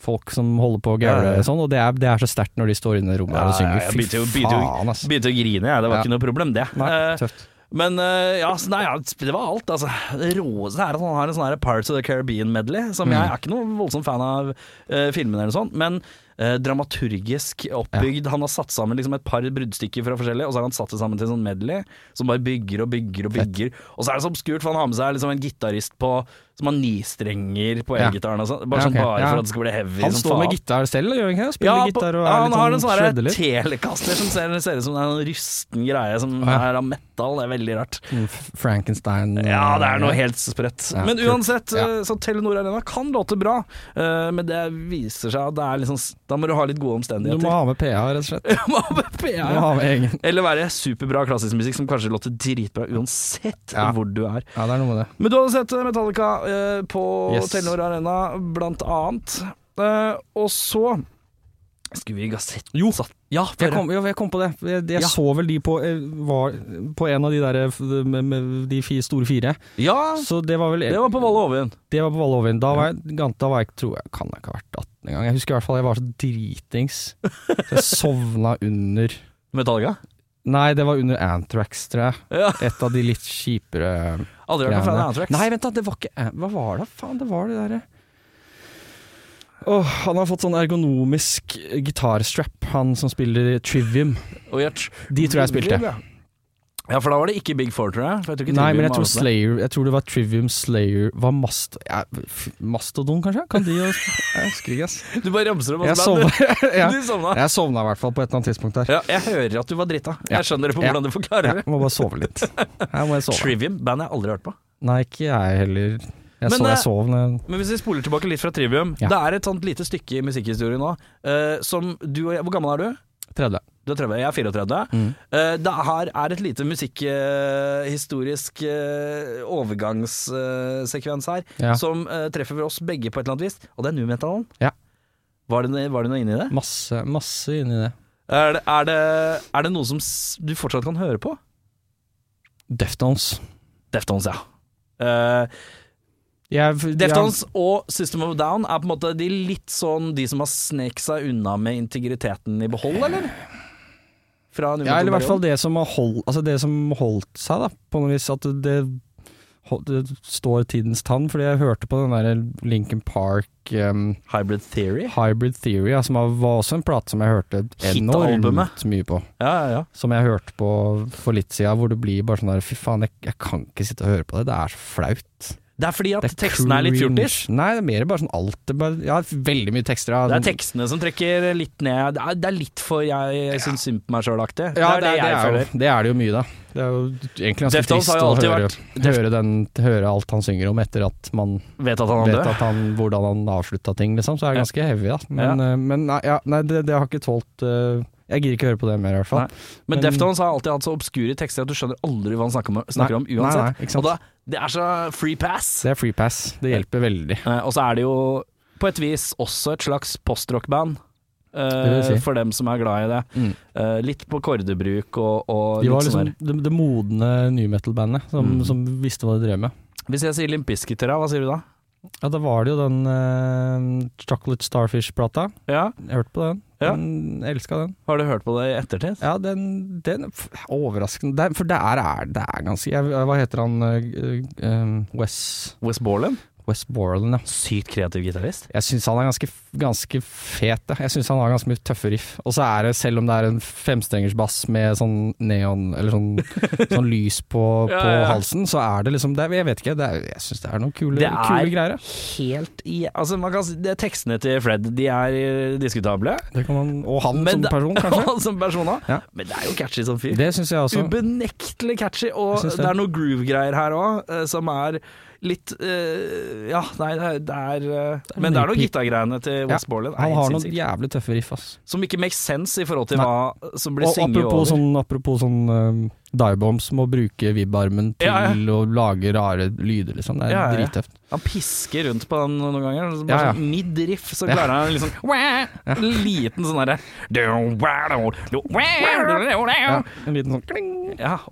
B: folk som holder på å
A: Ja,
B: gaule
A: ja, ja.
B: og sånn, og det er, det er så sterkt når de står inne i rommet der og
A: Ja, ja,
B: synger.
A: jeg
B: Fy
A: begynte jo- begynte jo-
B: faen, ass.
A: Begynte å grine, jeg. Det var
B: Ja.
A: ikke noe problem, det.
B: Nei,
A: Eh,
B: tøft.
A: Men eh, ja, så, nei, ja, det var alt, altså. Det råeste er at han har en sånn her Pirates of the Caribbean-medley, som
B: Mm.
A: jeg er ikke noe voldsom fan av uh, filmene eller sånn, men eh, dramaturgisk oppbygd. Han har satt sammen liksom et par bruddstykker fra forskjellige, og så har han satt det sammen til en sånn medley som bare bygger og bygger og bygger. Og så er det så obskurt, for han har med seg liksom en gitarist på som har ni strenger på
B: Ja.
A: elgitaren og sånn, bare
B: Ja,
A: sånn
B: ok,
A: bare
B: ja.
A: for at det skal bli heavy.
B: Han
A: som
B: står med
A: faen.
B: gitar selv, gjør han ikke det? Spiller
A: på-
B: gitar og
A: ja,
B: er
A: han
B: litt
A: har en
B: sånn
A: sånn her
B: shredder litt.
A: telekaster som ser, ser ut som det er en sånn rusten greie som
B: ja.
A: er av metal. Det er veldig rart.
B: Mm, F- Frankenstein
A: Ja, det er noe
B: eh,
A: helt sprøtt.
B: Ja,
A: Men
B: kult.
A: uansett,
B: Ja.
A: eh, så Telenor Arena kan låte bra, eh, men det viser seg at det er liksom Da må du ha litt gode
B: Du må
A: omstendigheter.
B: ha med PA, rett og slett.
A: Du må ha med PA,
B: Du må
A: ja.
B: ha med egen
A: Eller være superbra klassisk musikk som kanskje låter dritbra uansett
B: Ja.
A: hvor du er.
B: Ja, det er noe med det.
A: Men du hadde sett Metallica eh, på
B: Yes.
A: Telenor Arena, blant annet. Eh, og så Skulle vi ikke ha sett Jo! Satt. Ja,
B: Jeg kom, jo, jeg kom på det. Jeg, jeg
A: Ja.
B: så vel de på, eh, var, på en av de der eh, med, med de fi, store fire.
A: ja
B: Så det var vel
A: Ah. det var på Valle Hovin.
B: det var på Valle Ovin. Da var jeg, da var jeg tror jeg kan jeg ikke ha vært 18 engang. Jeg husker i hvert fall jeg var så dritings. Så jeg sovna under
A: Metallica?
B: Nei, det var under Anthrax, tror jeg.
A: Ja.
B: Et av de litt kjipere
A: Aldri vært noen fan av Anthrax.
B: Nei, vent da, det var ikke An- Hva var det? Faen, det var det derre Åh, han har fått sånn ergonomisk eh, gitarstrap, han som spiller i Trivium.
A: Og Gjert.
B: De tror jeg spilte.
A: Ja, for da var det ikke Big Four, tror jeg. For jeg tror ikke
B: Nei,
A: Trivium
B: men jeg
A: var med på
B: tror
A: det.
B: Slayer Jeg tror det var Trivium Slayer Var mast, ja, f- Mastodon, kanskje? Kan de jo Jeg husker ikke, ass.
A: Du bare ramser opp
B: Jeg
A: masse band,
B: sovna, ja.
A: Du, du sovna.
B: jeg sovna i hvert fall på et eller annet tidspunkt der.
A: Ja, jeg hører at du var drita.
B: Ja.
A: Jeg skjønner det på
B: Ja.
A: hvordan du forklarer
B: Jeg
A: det.
B: må bare sove litt. Her må jeg sove.
A: Trivium, band jeg aldri har hørt på.
B: Nei, ikke jeg heller. Jeg,
A: Men,
B: sov,
A: eh,
B: jeg sov men
A: Men hvis vi spoler tilbake litt fra Trivium.
B: Ja.
A: Det er et sånt lite stykke i musikkhistorien nå eh, som du og jeg Hvor gammel er du?
B: 30.
A: Du er 30, jeg er 34.
B: Mm.
A: Eh, det her er et lite eh, musikkhistorisk eh, overgangssekvens her
B: Ja.
A: som eh, treffer oss begge på et eller annet vis, og det er nu-metallen.
B: Ja.
A: Var, det- var det noe inni det?
B: Masse, masse inni det.
A: Er det, er det, er det noe som s- du fortsatt kan høre på?
B: Deftones.
A: Deftones, ja. Eh,
B: Jeg,
A: Deftones og System of a Down er på en måte de litt sånn de som har sneket seg unna med integriteten i behold, eller? Fra
B: Ja, eller i hvert fall det som har holdt, altså det som holdt seg, da, på noe vis. At det hold- det står tidens tann, fordi jeg hørte på den der Linkin Park um,
A: Hybrid Theory.
B: Hybrid Theory, ja, som var- var også en plate som jeg hørte
A: Hit-albumet.
B: enormt mye på.
A: Ja, ja, ja.
B: Som jeg hørte på for litt siden, hvor det blir bare sånn der Fy faen, jeg, jeg kan ikke sitte og høre på det, det er så flaut.
A: Det er fordi at
B: Det er
A: tekstene er litt
B: cringe.
A: fjortis.
B: Nei, det er mer bare sånn alt det bare, Ja, veldig mye tekster. Ja, sånn-
A: Det er tekstene som trekker litt ned. Det er, det er litt for jeg, jeg syns synd på meg sjøl-aktig.
B: Ja,
A: det er
B: det,
A: det jeg
B: er,
A: føler.
B: jo, det er det jo mye, da. Det er jo egentlig ganske
A: Deftones har jo
B: trist å
A: alltid
B: høre, høre, den, høre alt han synger om etter at man
A: Vet at han er
B: vet
A: død.
B: at han, hvordan han avslutta ting, liksom. Så er
A: Ja.
B: det ganske heavy, da. Men, eh, men nei, ja, nei det, det har ikke tålt eh, Jeg gidder ikke høre på det mer, i hvert fall.
A: Nei. Men
B: Men-
A: Deftones har alltid hatt så obskure tekster at du skjønner aldri hva han snakker om, snakker om
B: Nei,
A: uansett.
B: nei, nei, ikke sant.
A: Og da, det er så free pass.
B: Så det er free pass. Det hjelper veldig.
A: Eh, og så er det jo på et vis også et slags postrockband. eh,
B: Det vil si. Mm.
A: For dem som er glad i det. Eh, litt på kordebruk og, og
B: De
A: litt
B: var
A: sånn
B: liksom det, det modne new metal-bandet som,
A: Mm.
B: som visste hva de drev med.
A: der. Hvis jeg sier Limp Bizkit til deg, hva sier du da?
B: Ja, da var det jo den eh, Chocolate Starfish-plata.
A: Ja,
B: Jeg hørte på den.
A: Ja.
B: den Elska den.
A: Har du hørt på det i ettertid?
B: Ja, den, den f- Overraskende. Det, er- for det er, er, det er ganske jeg, Hva heter han eh, eh, Wes,
A: Wes Borland?
B: Wes Borland, ja.
A: Sykt kreativ gitarist.
B: Jeg syns han er ganske, ganske fet. ja. Jeg syns han har ganske mye tøffe riff. Og så er det, selv om det er en femstrengers bass med sånn neon Eller sånn, sånn lys på,
A: Ja,
B: på
A: ja.
B: halsen, så er det liksom det, er- Jeg vet ikke, det er, jeg syns det er noen kule,
A: Det er-
B: kule greier. ja.
A: Helt i Altså, man kan si det, Tekstene til Fred de er eh, diskutable.
B: Det kan man, og han
A: Men
B: som
A: det-
B: person, kanskje.
A: Og som person òg.
B: Ja.
A: Men det er jo catchy som fyr.
B: Det syns jeg også.
A: Ubenektelig catchy, og
B: Altså- Jeg syns
A: det.
B: det.
A: er noe groove-greier her òg, som er litt eh, Ja, nei, det er, det er eh,
B: er
A: Men det er noe
B: nypig.
A: gitargreiene til Wes Borland. er
B: Han
A: helt
B: har noen
A: sinnssykt.
B: jævlig tøffe riff, ass.
A: Som ikke makes sense i forhold til
B: Nei.
A: hva som blir
B: Og
A: sunget over.
B: apropos sånn, apropos sånn um, divebombs, må bruke vibbarmen til
A: Ja,
B: å lage rare lyder, liksom. Det er
A: Ja, ja.
B: drittøft.
A: Han pisker rundt på den noen ganger. så Bare
B: Ja, ja.
A: sånn Mid-riff, så klarer han liksom Liten sånn derre
B: Ja.
A: ja.
B: En liten sånn kling.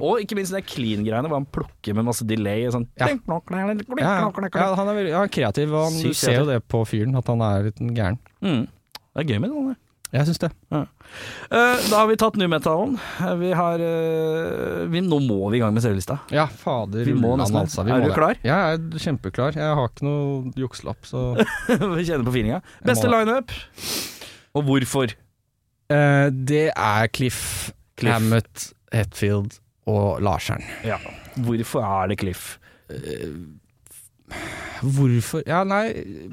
A: Og ikke minst de clean-greiene hvor han plukker med masse delay. Sånn.
B: Ja. Ja, ja. ja,
A: Mm.
B: han er veldig ja, kreativ, og han,
A: Sykt
B: du ser jo det på fyren at han er litt gæren.
A: Mm. Det er gøy med det. der.
B: Jeg syns det.
A: Eh, da har vi tatt new metalen. Eh, Vi har eh, vi, Nå må vi i gang med serielista.
B: Ja, fader
A: Vi må
B: ulland,
A: nesten det.
B: altså, vi
A: Er
B: må
A: du
B: det.
A: klar?
B: Ja, jeg er kjempeklar. Jeg har ikke noe jukselapp, så
A: vi kjenner på feelinga. Beste
B: det.
A: lineup. Og hvorfor?
B: Eh, Det er Cliff,
A: Cliff.
B: Hammett, Hetfield og Larseren.
A: Hvorfor er det Cliff?
B: Eh, Hvorfor Ja, nei,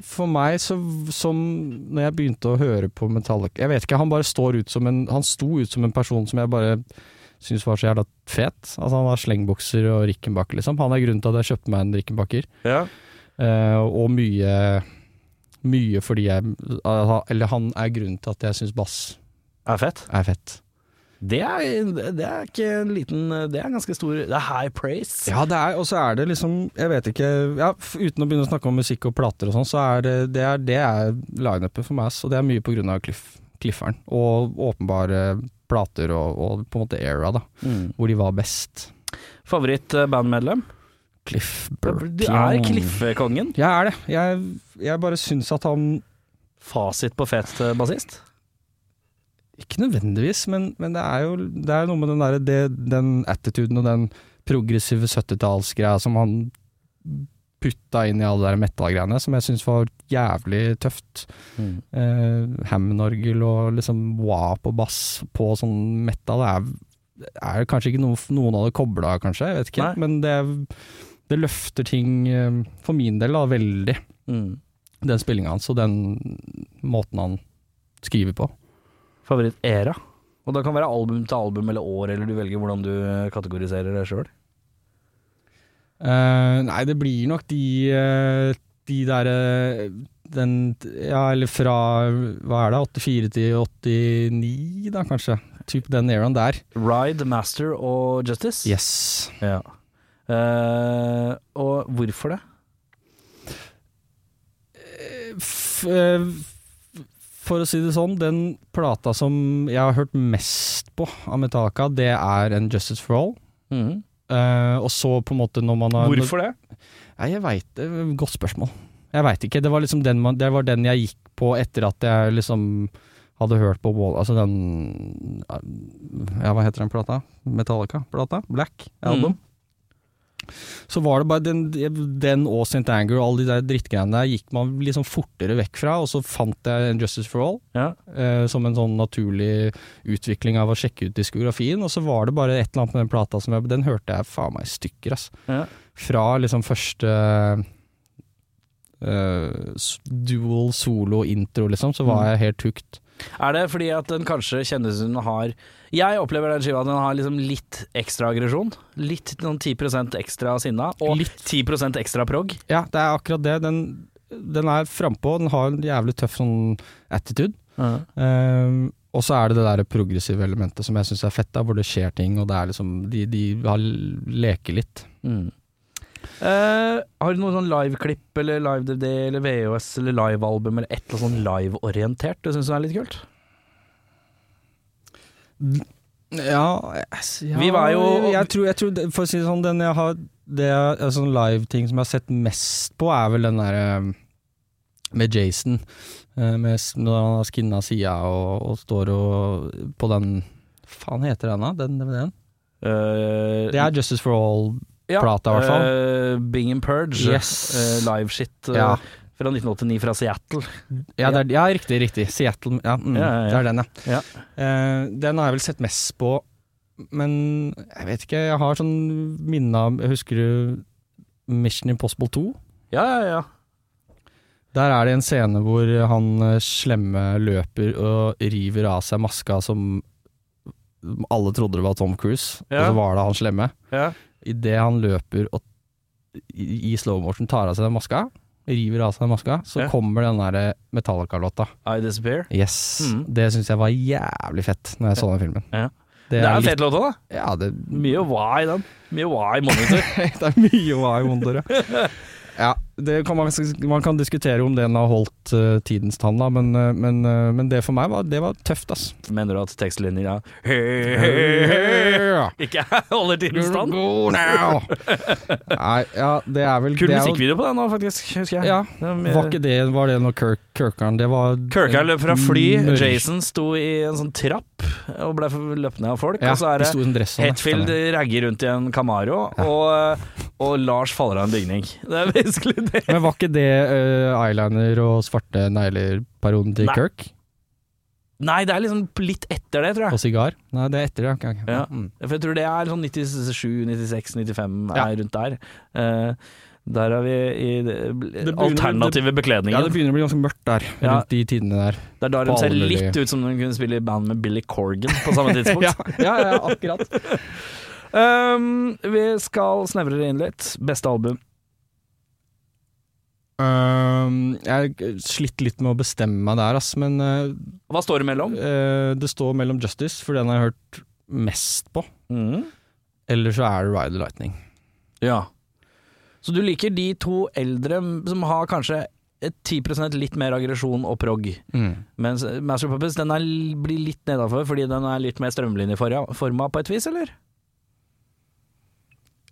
B: for meg så som Når jeg begynte å høre på Metallica Jeg vet ikke, han bare står ut som en Han sto ut som en person som jeg bare syns var så jævla fet. Altså, han har slengbokser og rickenbacker, liksom. Han er grunnen til at jeg kjøpte meg en rickenbacker.
A: Ja.
B: Eh, og mye Mye fordi jeg eh, Eller han er grunnen til at jeg syns bass
A: Er fett.
B: er fett.
A: Det er, det er ikke en liten Det er ganske stor Det er high praise.
B: Ja, det er, og så er det liksom Jeg vet ikke ja, f- Uten å begynne å snakke om musikk og plater og sånn, så er det Det er, det er lineupet for meg, ass, og det er mye på grunn av cliff, Clifferen. Og åpenbare plater og, og på en måte era, da.
A: Mm.
B: Hvor de var best.
A: Favoritt-bandmedlem?
B: Cliff
A: Du er
B: Burpion.
A: Cliff-kongen.
B: Jeg er det. Jeg, jeg bare syns at han
A: Fasit på fet eh, bassist?
B: Ikke nødvendigvis, men, men det er jo det er noe med den, der, det, den attituden og den progressive 70-tallsgreia som han putta inn i alle de der metal-greiene, som jeg syns var jævlig tøft.
A: Mm.
B: Eh, Hammond-orgel og liksom wah på bass på sånn metal det er, er kanskje ikke noe noen hadde kobla, kanskje, jeg vet ikke.
A: Nei.
B: Men det, det løfter ting, eh, for min del, da, veldig.
A: Mm.
B: Den spillinga hans og den måten han skriver på.
A: Favoritt-era? Og da kan være album til album eller år, eller du velger hvordan du eh, kategoriserer det sjøl.
B: Eh, nei, det blir nok de eh, De der eh, Den Ja, eller fra Hva er det? 84 til 89, da kanskje? Typ den eraen der.
A: Ride, Master og Justice?
B: Yes.
A: Ja. Eh, og hvorfor det?
B: F, eh, for å si det sånn, den plata som jeg har hørt mest på av Metallica, det er en Justice for All.
A: Mhm.
B: Eh, og så på en måte når man har
A: Hvorfor det?
B: Nei, jeg veit Godt spørsmål. Jeg veit ikke. Det var liksom den, man, det var den jeg gikk på etter at jeg liksom hadde hørt på Wall Altså den Ja, hva heter den plata? Metallica-plata? Black Album. så var det bare den, den og St. Anger og alle de der drittgreiene der gikk man liksom fortere vekk fra, og så fant jeg Justice for All
A: Ja.
B: eh, som en sånn naturlig utvikling av å sjekke ut diskografien, og så var det bare et eller annet med den plata som jeg Den hørte jeg faen meg i stykker, ass.
A: Ja.
B: Fra liksom første eh, s- dual solo-intro, liksom, så var
A: Mm.
B: jeg helt hooked.
A: Er det fordi at den kanskje kjennes hun har Jeg opplever den skiva at den har liksom litt ekstra aggresjon. Litt noen 10 ekstra sinna, og litt 10 ekstra prog.
B: Ja, det er akkurat det. Den, den er frampå, den har en jævlig tøff sånn attitude. Ehm, og så er det det der progressive elementet som jeg syns er fett, da, hvor det skjer ting, og det er liksom De, de har, leker litt.
A: Mm. Eh, har du noen sånn liveklipp eller live DVD eller VHS eller livealbum eller et eller annet sånn liveorientert du syns er litt kult?
B: Altså, Ja,
A: Vi var jo-
B: jeg tror, jeg tror det- For å si det sånn, den jeg har Det jeg- altså, sånn live-ting som jeg har sett mest på, er vel den derre med Jason. eh, Med, s- når han har skinna sida og, og står og På den Faen heter den da? Den DVD-en?
A: Eh,
B: Det er Justice for All-plata,
A: ja,
B: i hvert fall.
A: eh, Bing and Purge.
B: Yes.
A: Eh, Liveshit eh,
B: Ja.
A: fra 1989 fra Seattle.
B: Ja, det er, ja riktig, riktig. Seattle ja, mm,
A: Ja, ja, ja.
B: Det er den, ja.
A: Ja.
B: Eh, den har jeg vel sett mest på, men jeg vet ikke. Jeg har sånn minne av Husker du Mission Impossible 2?
A: Ja, ja, ja.
B: Der er det en scene hvor han eh, slemme løper og river av seg maska som alle trodde det var Tom Cruise, og
A: Ja.
B: så var det han slemme.
A: ja.
B: Idet han løper og i i slow motion tar av seg den maska, river av seg den maska, så
A: Ja.
B: kommer den derre Metallica-låta.
A: I Disappear.
B: Yes,
A: Mm.
B: det syns jeg var jævlig fett når jeg så den filmen.
A: Ja.
B: Det
A: Det er jo
B: litt-
A: fet låt, da.
B: Ja, det,
A: Mye why, den. Mye why monitor.
B: det er mye å være vondere. Ja, det kan man, man kan diskutere om den har holdt eh, tidens tann, da, men, eh, men, eh, men det for meg var, det var tøft, ass.
A: Mener du at tekstlinja
B: Yeah.
A: ikke holder tidens stand?
B: Go now. Nei, ja, det er vel
A: Kul
B: det er jo-
A: musikkvideo på den nå, faktisk, husker jeg.
B: Ja,
A: Det er mye-
B: var ikke det Var det når Kirk, Kirkeren Det var eh,
A: Kirka løp fra fly,
B: Mørk-
A: Jason sto i en sånn trapp og ble løpt ned av folk.
B: Ja,
A: og så er
B: det
A: det
B: sto en dress om det,
A: Hetfield
B: stemmer.
A: ragger rundt i en Camaro, og, og Lars faller av en bygning. Det er basically det.
B: Men var ikke det eh, eyeliner og svarte negler-perioden til
A: Nei.
B: Kirk?
A: Nei, det er liksom litt etter det, tror
B: Og
A: jeg.
B: sigar? Nei, det er etter det. ok, ok.
A: Ja.
B: Mm.
A: For jeg tror det er sånn 97, 96, 95,
B: Ja.
A: er rundt der. Eh, der er vi i det,
B: begynner-
A: alternative bekledningen.
B: ja, det begynner å bli ganske mørkt der,
A: Ja.
B: rundt de tidene der.
A: Det er da
B: På
A: hun ser
B: alle mulige-
A: litt ut som hun kunne spille i band med Billy Corgan på samme tidspunkt.
B: Ja, ja, ja, akkurat.
A: um, vi skal snevre det inn litt. Beste album.
B: Ehm, jeg har slitt litt med å bestemme meg der, ass, men eh,
A: Hva står det mellom?
B: eh, det står mellom Justice, for den har jeg hørt mest på.
A: Mm.
B: Eller så er det Ride the Lightning.
A: Ja. Så du liker de to eldre som har kanskje et 10 litt mer aggresjon og prog, mens Master of Puppets den er, blir litt nedafor fordi den er litt mer strømlinjeforma på et vis, eller?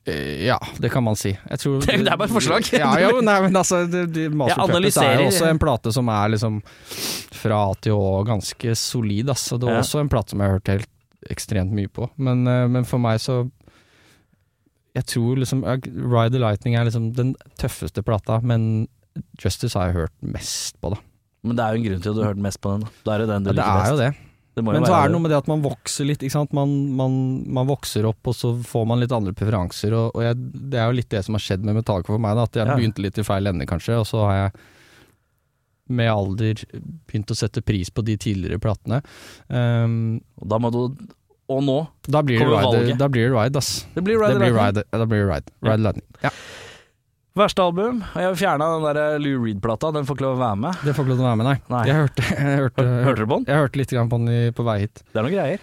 B: Eh, ja, det kan man si. Jeg tror,
A: Det er bare et forslag.
B: ja, ja, men nei, men altså, det, det, Master
A: Jeg
B: of Puppets er jo
A: analyserer-
B: også en plate som er liksom fra A til Å ganske solid. ass. Og Det er
A: Ja.
B: også en plate som jeg har hørt helt ekstremt mye på. Men, eh, men for meg så Jeg tror liksom eh, Ride the Lightning er liksom den tøffeste plata, men Justice har jeg hørt mest på, da.
A: Men det er jo en grunn til at du har hørt mest på den. da. Da er det den du
B: Ja, det
A: liker
B: er
A: best.
B: jo det.
A: Det må jo
B: Men så
A: være
B: er det noe med det at man vokser litt, ikke sant. Man, man, man vokser opp, og så får man litt andre preferanser. Og, og jeg, det er jo litt det som har skjedd med Metallica for meg, da, at jeg
A: Ja.
B: begynte litt i feil ende, kanskje. Og så har jeg med alder begynt å sette pris på de tidligere platene. Ehm,
A: Og Da må du Og nå.
B: da blir det
A: Kommer
B: ride,
A: valget.
B: da blir det ride, ass.
A: Det blir
B: Det
A: Ride the
B: blir
A: Lightning.
B: ride, ja, da blir det ride. Ride Lightning. Ja,
A: Verste album. Og Jeg fjerna den der eh, Lou Reed-plata. Den får ikke lov å være med.
B: det får ikke lov til å være med, nei.
A: Nei.
B: Jeg hørte, jeg hørte,
A: Hør, hørte du på den?
B: jeg hørte litt grann på den i- på vei hit.
A: Det er noen greier.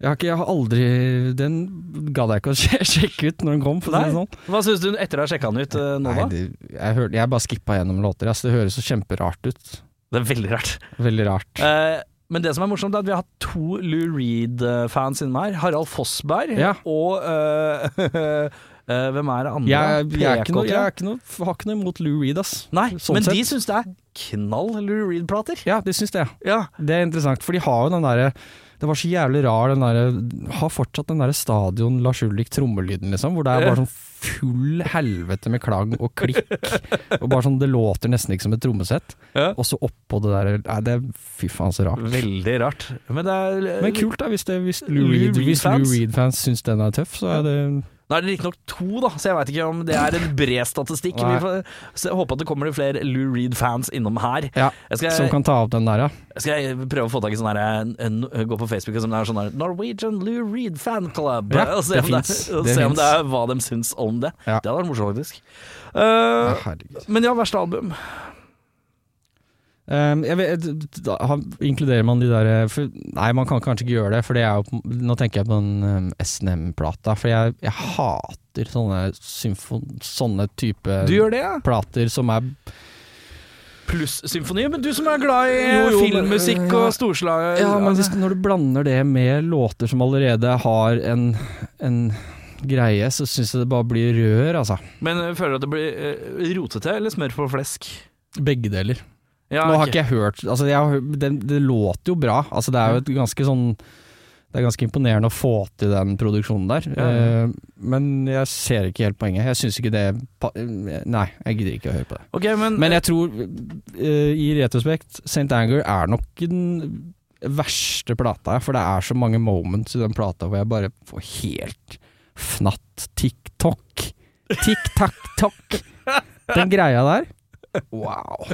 B: Jeg har, ikke, jeg har aldri Den gadd jeg ikke å sj- sjekke ut når den kom, for å si det
A: Nei.
B: sånn.
A: Hva syns du etter å ha sjekka den ut eh, nå,
B: Nei,
A: da?
B: det, jeg, hør, jeg bare skippa gjennom låter. ass. det høres så kjemperart ut.
A: Det er veldig rart.
B: Veldig rart.
A: Eh, men det som er morsomt, er at vi har hatt to Lou Reed-fans innom her. Harald Fossberg
B: Ja.
A: og eh, eh, Hvem er det andre?
B: Jeg, jeg, er ikke noe,
A: PK, tror
B: jeg er
A: jeg.
B: ikke noe, f- har ikke noe imot Lou Reed, ass.
A: Nei,
B: sånn
A: men
B: sett.
A: de syns det er knall Lou Reed-plater.
B: Ja, de syns det.
A: Ja.
B: Det er interessant, for de har jo den derre Det var så jævlig rar den derre Har fortsatt den derre stadion Lars Ulrik trommelyden, liksom. Hvor det er bare sånn full helvete med klang og klikk. Og bare sånn Det låter nesten ikke som et trommesett.
A: Ja.
B: Og så oppå det der Nei, det er fy faen så rart.
A: Veldig rart. Men det er eh,
B: Men kult, da. Hvis, det, hvis
A: Lou
B: Lou Reed-
A: Reed
B: hvis
A: fans.
B: Lou Reed-fans syns den er tøff, så er det
A: Nå er det riktignok to, da, så jeg veit ikke om det er en bred statistikk.
B: Nei.
A: Vi får så jeg håper at det kommer flere Lou Reed-fans innom her.
B: Ja,
A: Jeg
B: som
A: skal,
B: kan ta opp den der, ja.
A: skal jeg prøve å få tak i sånn her en- en- Gå på Facebook og sånn der, sånn der Norwegian Lou Reed Fan Club.
B: Ja,
A: og se,
B: det
A: om det,
B: finnes.
A: og
B: Det
A: se om det
B: finnes.
A: er hva de syns om det.
B: Ja.
A: Det hadde vært morsomt, faktisk. Eh,
B: Herregud.
A: men ja, verste album.
B: Um, jeg vet, da, har- inkluderer man de der eh, for, Nei, man kan kanskje ikke gjøre det, for det er jo på- Nå tenker jeg på den um, SNM-plata, for jeg, jeg hater sånne symfon... Sånne type
A: Du gjør det, ja?
B: plater som er
A: Pluss symfoni. Men du som er glad i
B: Jo, jo, men- eh,
A: filmmusikk og storslag
B: Ja, men hvis, når du blander det med låter som allerede har en, en greie, så syns jeg det bare blir rør, altså.
A: Men eh, føler du at det blir eh, rotete eller smør på flesk?
B: Begge deler.
A: Ja,
B: Nå har
A: ok.
B: ikke jeg hørt altså jeg har, hø- det, det låter jo bra. Altså det er jo et ganske sånn Det er ganske imponerende å få til den produksjonen der.
A: Ja.
B: Eh, men jeg ser ikke helt poenget. Jeg syns ikke det pa- Nei, jeg gidder ikke å høre på det.
A: Ok, men,
B: Men jeg tror, eh, i retrospekt, St. Anger er nok den verste plata, for det er så mange moments i den plata hvor jeg bare får helt fnatt. Tikk-tokk. Tikk-takk-tokk. Den greia der. Wow.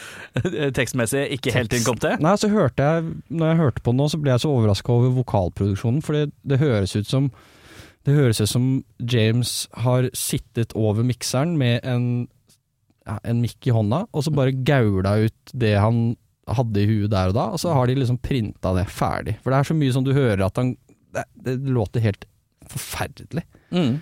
A: tekstmessig ikke helt
B: Tekst.
A: innkom til.
B: Nei, så hørte jeg Når jeg hørte på den nå, så ble jeg så overraska over vokalproduksjonen, for det, det høres ut som Det høres ut som James har sittet over mikseren med en ja, en mikk i hånda, og så bare gaula ut det han hadde i huet der og da, og så har de liksom printa det ferdig. For det er så mye som du hører at han Det, det låter helt forferdelig
A: Mm.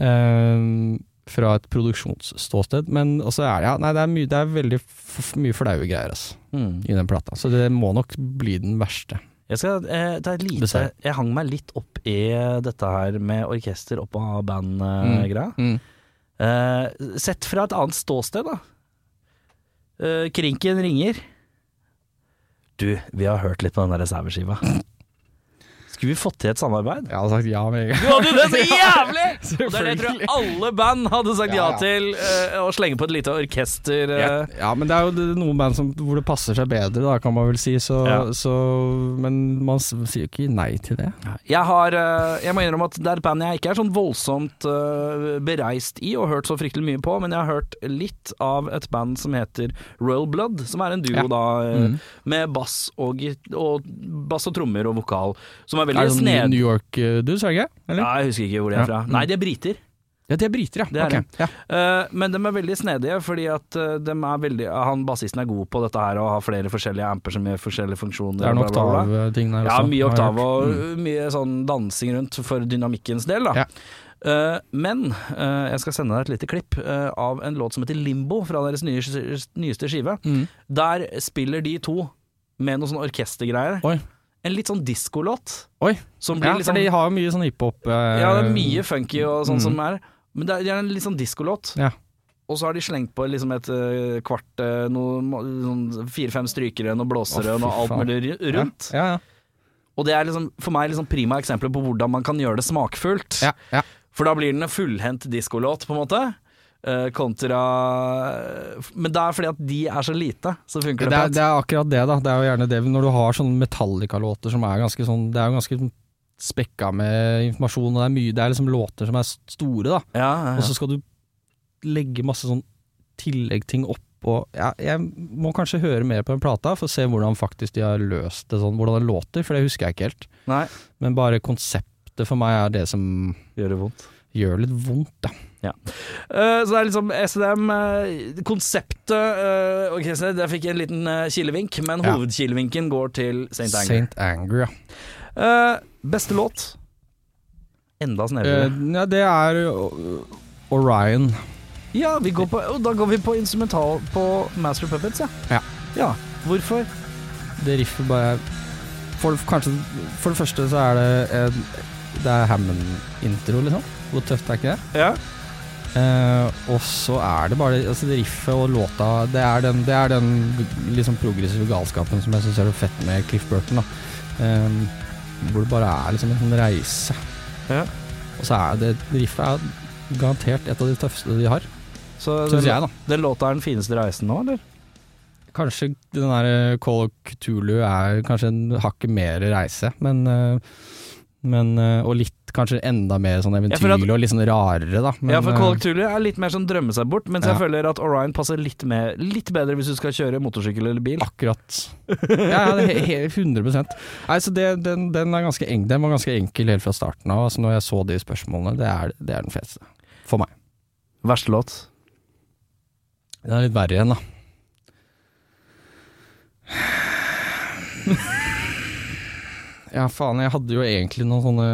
B: eh, fra et produksjonsståsted. Men også er det ja, Nei, det er, mye- det er veldig f mye flaue greier, altså
A: Mm.
B: i den plata. Så det må nok bli den verste.
A: Jeg, skal, eh, ta et lite,
B: Dessverre.
A: jeg hang meg litt opp i dette her med orkester opp av band-greia. Eh, sett fra et annet ståsted, da. Eh, krinken ringer. Du, vi har hørt litt på den der Sæver-skiva. Skulle vi fått til et samarbeid?
B: Jeg hadde sagt ja med en gang.
A: Du hadde jo det så jævlig! Og det er det jeg tror alle band hadde sagt ja,
B: Ja, ja.
A: til. eh, å slenge på et lite orkester. eh.
B: Ja, ja, men det er jo det- noen band som, hvor det passer seg bedre, da, kan man vel si. Så,
A: Ja.
B: så, men man s- sier jo ikke nei til det.
A: Jeg, har, eh, jeg må innrømme at det er et band jeg ikke er sånn voldsomt eh, bereist i og hørt så fryktelig mye på, men jeg har hørt litt av et band som heter Royal Blood, som er en duo
B: Ja.
A: da eh,
B: Mm.
A: med bass og, git- og, bass og trommer og vokal, som er veldig
B: er det sånn
A: snedig.
B: New York-dudes, er det ikke? Eller?
A: Ja, jeg husker ikke hvor de
B: Ja.
A: er fra.
B: Mm.
A: Nei, de er briter.
B: Ja, de er briter, ja.
A: Det er
B: Ok, ja.
A: Eh, men de er veldig snedige, fordi at eh, de er veldig, han bassisten er god på dette her og har flere forskjellige amper som gjør forskjellige funksjoner.
B: Det er en
A: bla, bla, bla.
B: oktav-ting der også.
A: Ja, mye
B: har jeg
A: oktav
B: hørt.
A: og
B: Mm.
A: mye sånn dansing rundt for dynamikkens del, da.
B: Ja.
A: Eh, men eh, jeg skal sende deg et lite klipp eh, av en låt som heter Limbo, fra deres nye, nyeste skive.
B: Mm.
A: Der spiller de to med noe sånn orkestergreier.
B: Oi.
A: En litt sånn diskolåt.
B: Oi.
A: Som blir
B: Ja,
A: litt
B: for
A: sånn
B: de har jo mye sånn hiphop eh,
A: Ja, det er mye funky og sånn
B: Mm.
A: som er. Men det er, det er en litt sånn diskolåt.
B: Ja.
A: Og så har de slengt på liksom et eh, kvart, eh, noe, sånn fire-fem strykere, noe blåsere
B: Å,
A: og
B: fy
A: noe alt
B: faen.
A: mulig ru- rundt.
B: Ja, ja.
A: Og det er liksom, for meg liksom prima eksempler på hvordan man kan gjøre det smakfullt.
B: ja, ja.
A: For da blir den en fullhendt diskolåt, på en måte. eh, kontra Men det er fordi at de er så lite, så funker
B: Det
A: det,
B: er,
A: på
B: det
A: et
B: er akkurat det, da. Det er jo gjerne det når du har sånne Metallica-låter som er ganske sånn Det er jo ganske spekka med informasjon, og det er mye Det er liksom låter som er s- store, da.
A: ja, ja,
B: Og så skal du legge masse sånn tilleggsting opp. Og ja, jeg må kanskje høre mer på den plata for å se hvordan faktisk de har løst det sånn, hvordan det låter, for det husker jeg ikke helt.
A: ja. Nei,
B: Men bare konseptet for meg er det som
A: gjør det vondt.
B: gjør litt vondt, da.
A: Eh, så det er liksom SDM eh, Konseptet eh, Ok, så der fikk jeg en liten eh, kilevink, men
B: Ja.
A: hovedkilevinken går til St. Anger.
B: Saint Anger, ja.
A: Eh, beste låt? Enda snevrere.
B: Eh, ja, det er øh, Orion.
A: Ja, vi går på, og da går vi på instrumental på Master Puppets, ja.
B: Ja.
A: Hvorfor?
B: Det riffet bare for, kanskje, for det første så er det en, Det er Hammond-intro, liksom. Hvor tøft er ikke det?
A: Ja.
B: Eh, og så er det bare altså det riffet og låta Det er den, det er den liksom progressive galskapen som jeg syns er det fett med Cliff Burton. da Ehm, hvor det bare er liksom en sånn reise.
A: Ja.
B: Og så er det riffet er garantert et av de tøffeste de har,
A: Så
B: syns
A: den,
B: jeg, da.
A: den låta er den fineste reisen nå, eller?
B: Kanskje den der eh, Call of Cthulhu er kanskje en hakket mer reise, men, eh, men eh, Og litt kanskje enda mer sånn
A: Ja, for at-
B: eventyrlig og litt sånn rarere, da. Men,
A: ja, for Call of
B: eh,
A: Cthulhu er litt mer sånn drømme seg bort, mens jeg
B: Ja.
A: føler at Orion passer litt, mer, litt bedre hvis du skal kjøre motorsykkel eller bil.
B: eh, Akkurat. Ja, ja det er he- he- 100 Nei, så det, den, den, er ganske en, den var ganske enkel helt fra starten av. Altså, når jeg så de spørsmålene, det er, det er den feteste. For meg.
A: Verste låt?
B: Den er litt verre igjen, da. Ja, faen, jeg hadde jo egentlig noen sånne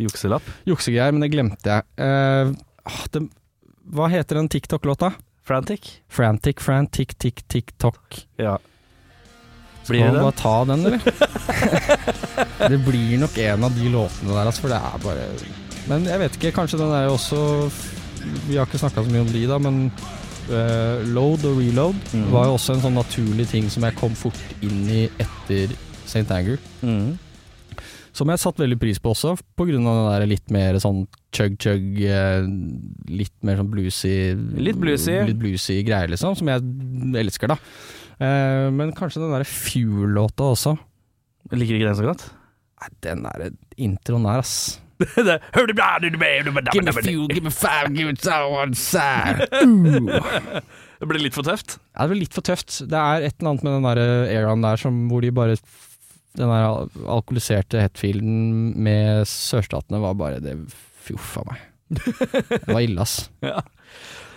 A: Jukselapp?
B: juksegreier, men det glemte jeg. Eh, ah, det, hva heter den TikTok-låta?
A: Frantic?
B: Frantic, frantic, tick, tick, tock.
A: Ja.
B: Skal
A: Blir
B: man
A: det
B: bare
A: den?
B: ta den, eller? det blir nok en av de låtene der, altså, for det er bare Men jeg vet ikke, kanskje den er jo også Vi har ikke snakka så mye om de, da, men eh, load og reload
A: Mhm.
B: var jo også en sånn naturlig ting som jeg kom fort inn i etter St. Anger.
A: Mm.
B: Som jeg satt veldig pris på også, på grunn av den der litt mer sånn chug-chug, eh, litt mer sånn bluesy
A: Litt bluesy.
B: Litt bluesy greier, liksom, som jeg elsker, da. Eh, men kanskje den der Fuel-låta også.
A: Liker ikke den så godt?
B: Nei, den der introen der, ass.
A: Det- Hør du bla, du, du, du, du, du, du, du.
B: give me five, give it to one side. Uh.
A: Det blir litt for tøft.
B: Ja, det blir litt for tøft. Det er et eller annet med den der eraen der som, hvor de bare Den der al- alkoholiserte Hetfielden med sørstatene var bare det Fjoff a meg. Det var ille, ass.
A: Ja.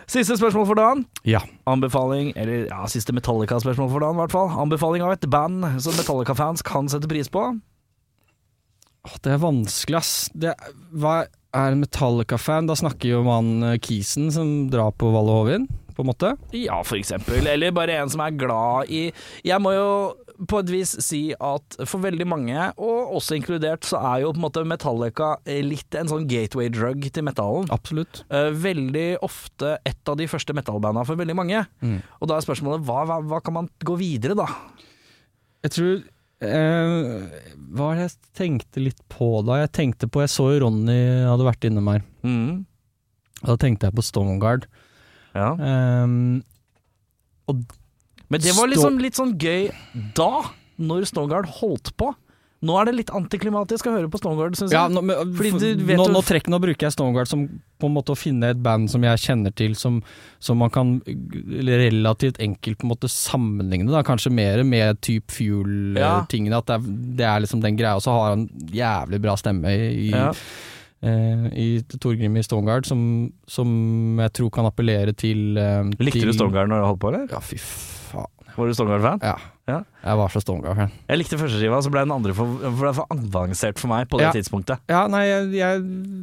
A: Siste spørsmål for dagen.
B: Ja.
A: Anbefaling, eller ja, siste Metallica-spørsmål for dagen, i hvert fall. Anbefaling av et band som Metallica-fans kan sette pris på.
B: Åh, Det er vanskelig, ass. Det, er- hva er en Metallica-fan? Da snakker jo om han eh, Kisen som drar på Valle Hovin, på en måte.
A: Ja, for eksempel. Eller bare en som er glad i Jeg må jo på et vis si at for veldig mange, og også inkludert, så er jo på en måte Metallica litt en sånn gateway drug til metallen.
B: Absolutt.
A: Eh, Veldig ofte et av de første metalbanda for veldig mange.
B: Mm.
A: Og da er spørsmålet hva, hva, hva kan man gå videre, da?
B: Jeg tror eh, Hva var det jeg tenkte litt på da? Jeg tenkte på Jeg så jo Ronny hadde vært innom her.
A: Mm.
B: Og Da tenkte jeg på Stoneguard.
A: Ja.
B: Um,
A: Men det var liksom
B: Stå-
A: litt sånn gøy da, når Snowguard holdt på. Nå er det litt antiklimatisk å høre på Snowguard, syns
B: ja,
A: jeg.
B: nå, men,
A: Fordi
B: for-
A: du vet
B: nå,
A: jo-
B: nå, trekk, nå bruker jeg Stoneguard som på en måte å finne et band som jeg kjenner til, som, som man kan g- relativt enkelt på en måte sammenligne, da, kanskje mer med type
A: Ja.
B: Fuel-tingene. At det er, det er liksom den greia. Og så har han jævlig bra stemme i, i,
A: Ja.
B: eh, i Torgrim i Stoneguard, som, som jeg tror kan appellere til eh,
A: Likte
B: til,
A: du Snowguard når du holdt på, eller?
B: Ja, fy faen.
A: Var du Snowguard-fan?
B: Ja.
A: Ja.
B: Jeg var så Stoneguard-fan.
A: Jeg likte første skiva, så ble den andre for, for, det er for avansert for meg på det
B: Ja.
A: tidspunktet.
B: Ja, nei, jeg, jeg,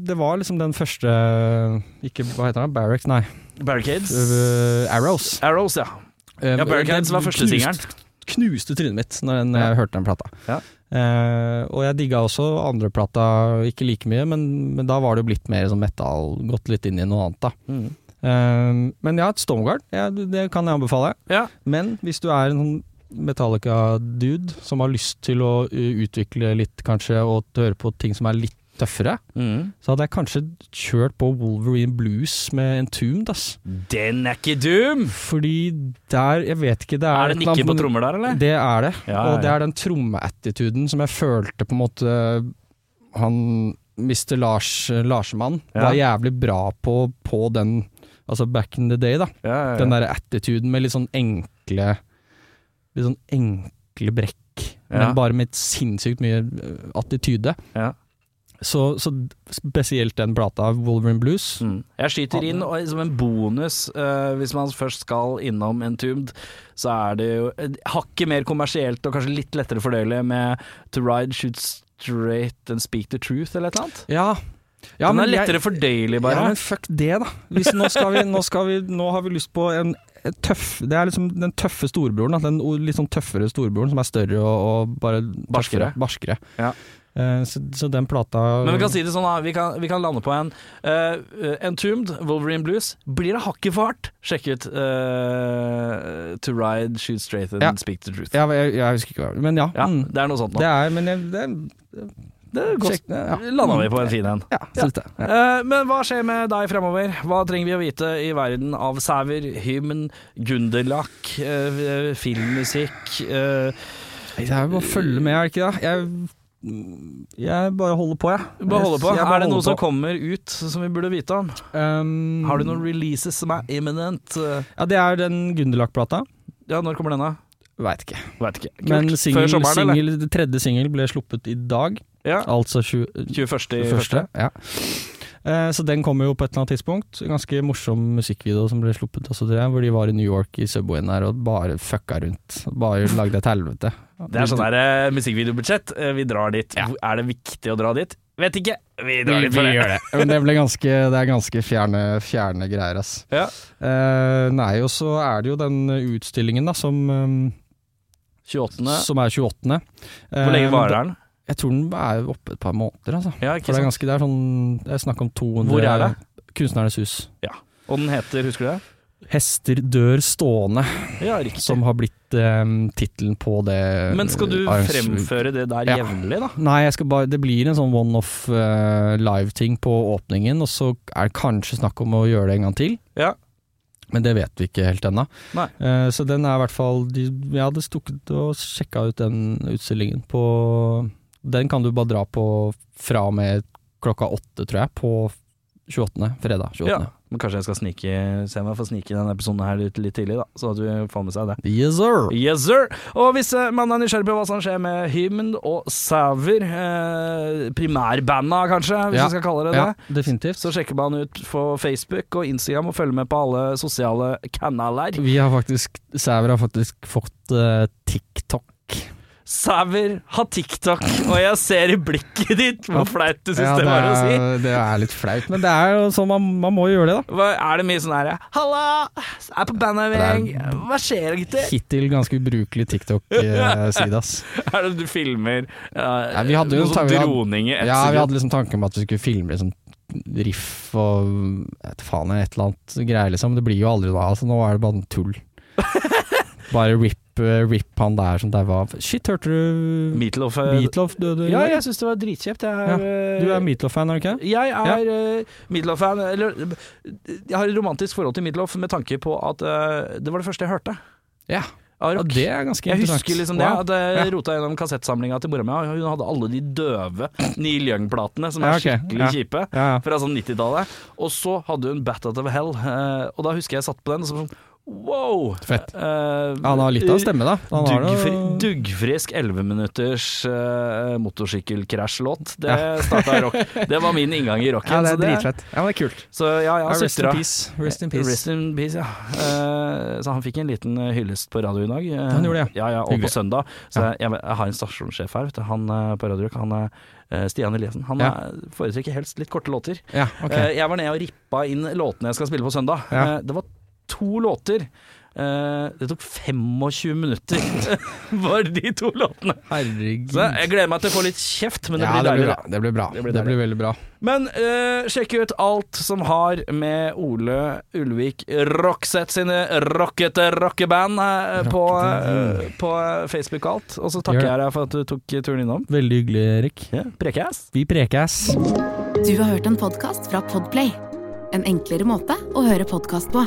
B: det var liksom den første Ikke, hva heter den? Barracks, nei.
A: Barricades.
B: Øh, Arrows. Eh,
A: Arrows, ja. Ja, Barricades var første singelen.
B: Knuste trynet mitt når den,
A: Ja.
B: jeg hørte den plata.
A: Ja.
B: Eh, og jeg digga også andreplata ikke like mye, men, men da var det jo blitt mer sånn metal, gått litt inn i noe annet, da.
A: Mm.
B: Eh, men ja, et Stormguard, ja, det det kan jeg anbefale.
A: Ja.
B: Men hvis du er en sånn Metallica-dude som har lyst til å uh, utvikle litt, kanskje, og høre på ting som er litt tøffere,
A: Mm.
B: så hadde jeg kanskje kjørt på Wolverine Blues med Entombed, ass.
A: Den er ikke dum!
B: Fordi der, jeg vet ikke, det er
A: Er det
B: et eller
A: nikke på
B: annet-
A: trommer der, eller?
B: Det er det.
A: Ja, ja,
B: Og det
A: ja.
B: er den trommeattituden som jeg følte på en måte Han Mr. Lars Larsemann
A: Ja.
B: var jævlig bra på, på den Altså back in the day, da.
A: Ja, ja, ja.
B: Den derre attituden med litt sånn enkle Litt sånn enkle brekk,
A: Ja.
B: men bare med sinnssykt mye øh, attityde.
A: Ja.
B: Så, så spesielt den plata, Wolverine Blues,
A: Mm. Jeg skyter inn og som en bonus, eh, hvis man først skal innom Entombed, så er det jo eh, hakket mer kommersielt og kanskje litt lettere fordøyelig med To Ride, Shoot Straight and Speak the Truth eller et eller annet.
B: Ja. ja
A: Den
B: men
A: er
B: jeg-
A: lettere fordøyelig, bare.
B: Ja, men fuck det, da. Hvis nå, skal vi, nå, skal vi, nå har vi lyst på en tøff, det er liksom den tøffe storebroren. da. Den o- litt sånn tøffere storebroren som er større og, og bare
A: Barskere.
B: tøffere, barskere.
A: Ja.
B: Eh, så, så den plata
A: Men vi kan si det sånn, da. Vi kan, vi kan lande på en uh, Entombed, Wolverine Blues. Blir det hakket for hardt? Sjekk ut eh, To Ride, Shoot Straight and
B: Ja.
A: Speak the Truth.
B: ja, jeg, jeg husker ikke hva Men ja.
A: Ja,
B: mm.
A: det er noe sånt nå.
B: Det er Men jeg, det er,
A: Det er godt.
B: Sjekk det, ja.
A: Landa vi på en fin en.
B: ja, synes det. Ja.
A: Eh, men hva skjer med deg fremover? Hva trenger vi å vite i verden av sauer, hymn, gunderlakk, eh, filmmusikk eh,
B: Det er jo bare å følge med, er det ikke det? Jeg, jeg bare holder på, jeg.
A: Bare holde på.
B: Jeg bare
A: Er det noe
B: holder
A: som
B: på.
A: kommer ut som vi burde vite om?
B: Um,
A: Har du noen releases som er imminent? Eh,
B: Ja, det er den Gunderlach-plata.
A: Ja, når kommer den, da?
B: Veit ikke.
A: Veit ikke. Kult.
B: Men
A: Før
B: singel,
A: sommeren, eller?
B: singel- tredje singel ble sluppet i dag.
A: Ja.
B: Altså 20,
A: 21. i første.
B: første. Ja. Eh, Så den kommer jo på et eller annet tidspunkt. Ganske morsom musikkvideo som ble sluppet. Også, tror jeg, hvor de var i New York i Subwayen der og bare fucka rundt. Bare lagde et helvete.
A: Det er sånn der eh, musikkvideobudsjett. Eh, Vi drar dit. Hvor- Er det viktig å dra dit? Vet ikke. Vi
B: Vi,
A: drar dit for
B: vi
A: det.
B: gjør det. Men det, ble ganske, det er ganske fjerne, fjerne greier, ass.
A: Ja.
B: Eh, nei, og så er det jo den utstillingen da, som, eh,
A: 28.
B: som er 28.
A: Hvor
B: eh,
A: lenge varer den?
B: Jeg tror den er oppe et par måneder, altså.
A: Ja, ikke
B: For det er
A: sant?
B: ganske, det er sånn, det er snakk om 200
A: Hvor er det?
B: Kunstnernes hus.
A: Og den heter, husker du det?
B: Hester dør stående.
A: Ja, riktig.
B: som har blitt um, tittelen på det. eh,
A: Men skal du
B: arrange-
A: fremføre det der
B: Ja.
A: jevnlig, da?
B: Nei, jeg skal bare, det blir en sånn one-off eh, live-ting på åpningen, og så er det kanskje snakk om å gjøre det en gang til.
A: Ja.
B: Men det vet vi ikke helt ennå.
A: Nei.
B: Eh, så den er i hvert fall de, Jeg hadde stukket og sjekka ut den utstillingen på Den kan du bare dra på fra og med klokka åtte, tror jeg, på 28. fredag. 28.
A: Ja. Men kanskje jeg skal snike Se om jeg får snike denne episoden her litt, litt tidlig, da. Så at du får med seg det.
B: Yes, sir!
A: Yes, sir! Og hvis eh, man er nysgjerrig på hva som skjer med hymn og sauer, eh, primærbanda kanskje, hvis
B: Ja.
A: vi skal kalle det det,
B: Ja, definitivt.
A: så sjekker man ut på Facebook og Instagram og følger med på alle sosiale kanaler.
B: Vi har faktisk Sæver har faktisk fått eh, TikTok.
A: Sauer har TikTok, og jeg ser i blikket ditt hvor flaut du syns det var å si.
B: er, det er litt flaut, men det er jo sånn man, man må gjøre det, da.
A: Hva, er det mye sånn herre Halla! Er på bandet i
B: Det er-
A: gjeng. Hva skjer, gutter?
B: Hittil ganske ubrukelig TikTok-side, ass.
A: Er det du filmer eh,
B: vi hadde jo
A: noe
B: en
A: sånn
B: tanke- vi hadde-
A: droning i ett
B: Ja, vi
A: sekund?
B: hadde liksom tanken om at vi skulle filme liksom riff og jeg vet faen, et eller annet greier, liksom. Det blir jo aldri da, altså. Nå er det bare noe tull. Bare rip, eh, rip han der som daua av. Shit, hørte du
A: Meatloaf eh,
B: Meatloaf døde? i
A: Ja,
B: går?
A: jeg syns det var dritkjipt. Jeg er,
B: Ja,
A: eh,
B: Du er Meatloaf-fan, er du ikke?
A: Jeg er eh, Meatloaf-fan. Eller eh, jeg har et romantisk forhold til Meatloaf med tanke på at eh, det var det første jeg hørte.
B: Ja.
A: Av
B: Ja,
A: rock.
B: det er ganske
A: jeg
B: interessant.
A: husker liksom det,
B: Wow.
A: at jeg
B: Ja.
A: rota gjennom kassettsamlinga til mora mi. og Hun hadde alle de døve Neil Young-platene som er
B: Ja, ok.
A: skikkelig
B: Ja.
A: kjipe.
B: Ja, ja.
A: Fra sånn 90-tallet. Og så hadde hun Bat Out of Hell, eh, og da husker jeg satt på den og så var det sånn wow!
B: Fett.
A: Eh,
B: Ja, Han har litt av en stemme, da. Han har
A: Duggfri,
B: noe-
A: duggfrisk 11-minutters uh, motorsykkelkrasj-låt. Det starta rock. Det var min inngang i rocken.
B: Ja, det
A: så
B: er dritfett. Ja, men det er
A: Så
B: kult.
A: altså, ja, ja,
B: Ja, rest in
A: søstera.
B: peace. Rest in peace.
A: Rest in peace, ja. Eh, så han fikk en liten eh, hyllest på radio i dag. Eh,
B: Han gjorde det,
A: ja. ja, Og på
B: Hyggelig.
A: søndag. Så
B: Ja.
A: jeg, jeg, jeg har en stasjonssjef her, vet du. Han eh, på Radio Rock, han er eh, Stian Eliassen. Han
B: Ja.
A: eh, foretrekker helst litt korte låter.
B: Ja, ok.
A: Eh, jeg var nede og rippa inn låtene jeg skal spille på søndag.
B: Ja.
A: Eh, det var to låter. Eh, det tok 25 minutter for de to låtene.
B: Herregud.
A: Så jeg gleder meg til å få litt kjeft, men det
B: ja,
A: blir
B: det
A: deilig.
B: blir
A: da.
B: bra. Det blir bra.
A: Det
B: Det
A: blir
B: blir,
A: deilig.
B: veldig bra.
A: Men eh, sjekk ut alt som har med Ole Ulvik Rockset sine rockete rockeband eh, på, eh, på Facebook og alt. Og så takker
B: Gjør det.
A: jeg deg for at du tok turen innom.
B: Veldig hyggelig, Erik.
A: Ja, Prekæs.
B: Vi prekes.
C: Du har hørt en podkast fra Podplay. En enklere måte å høre podkast på.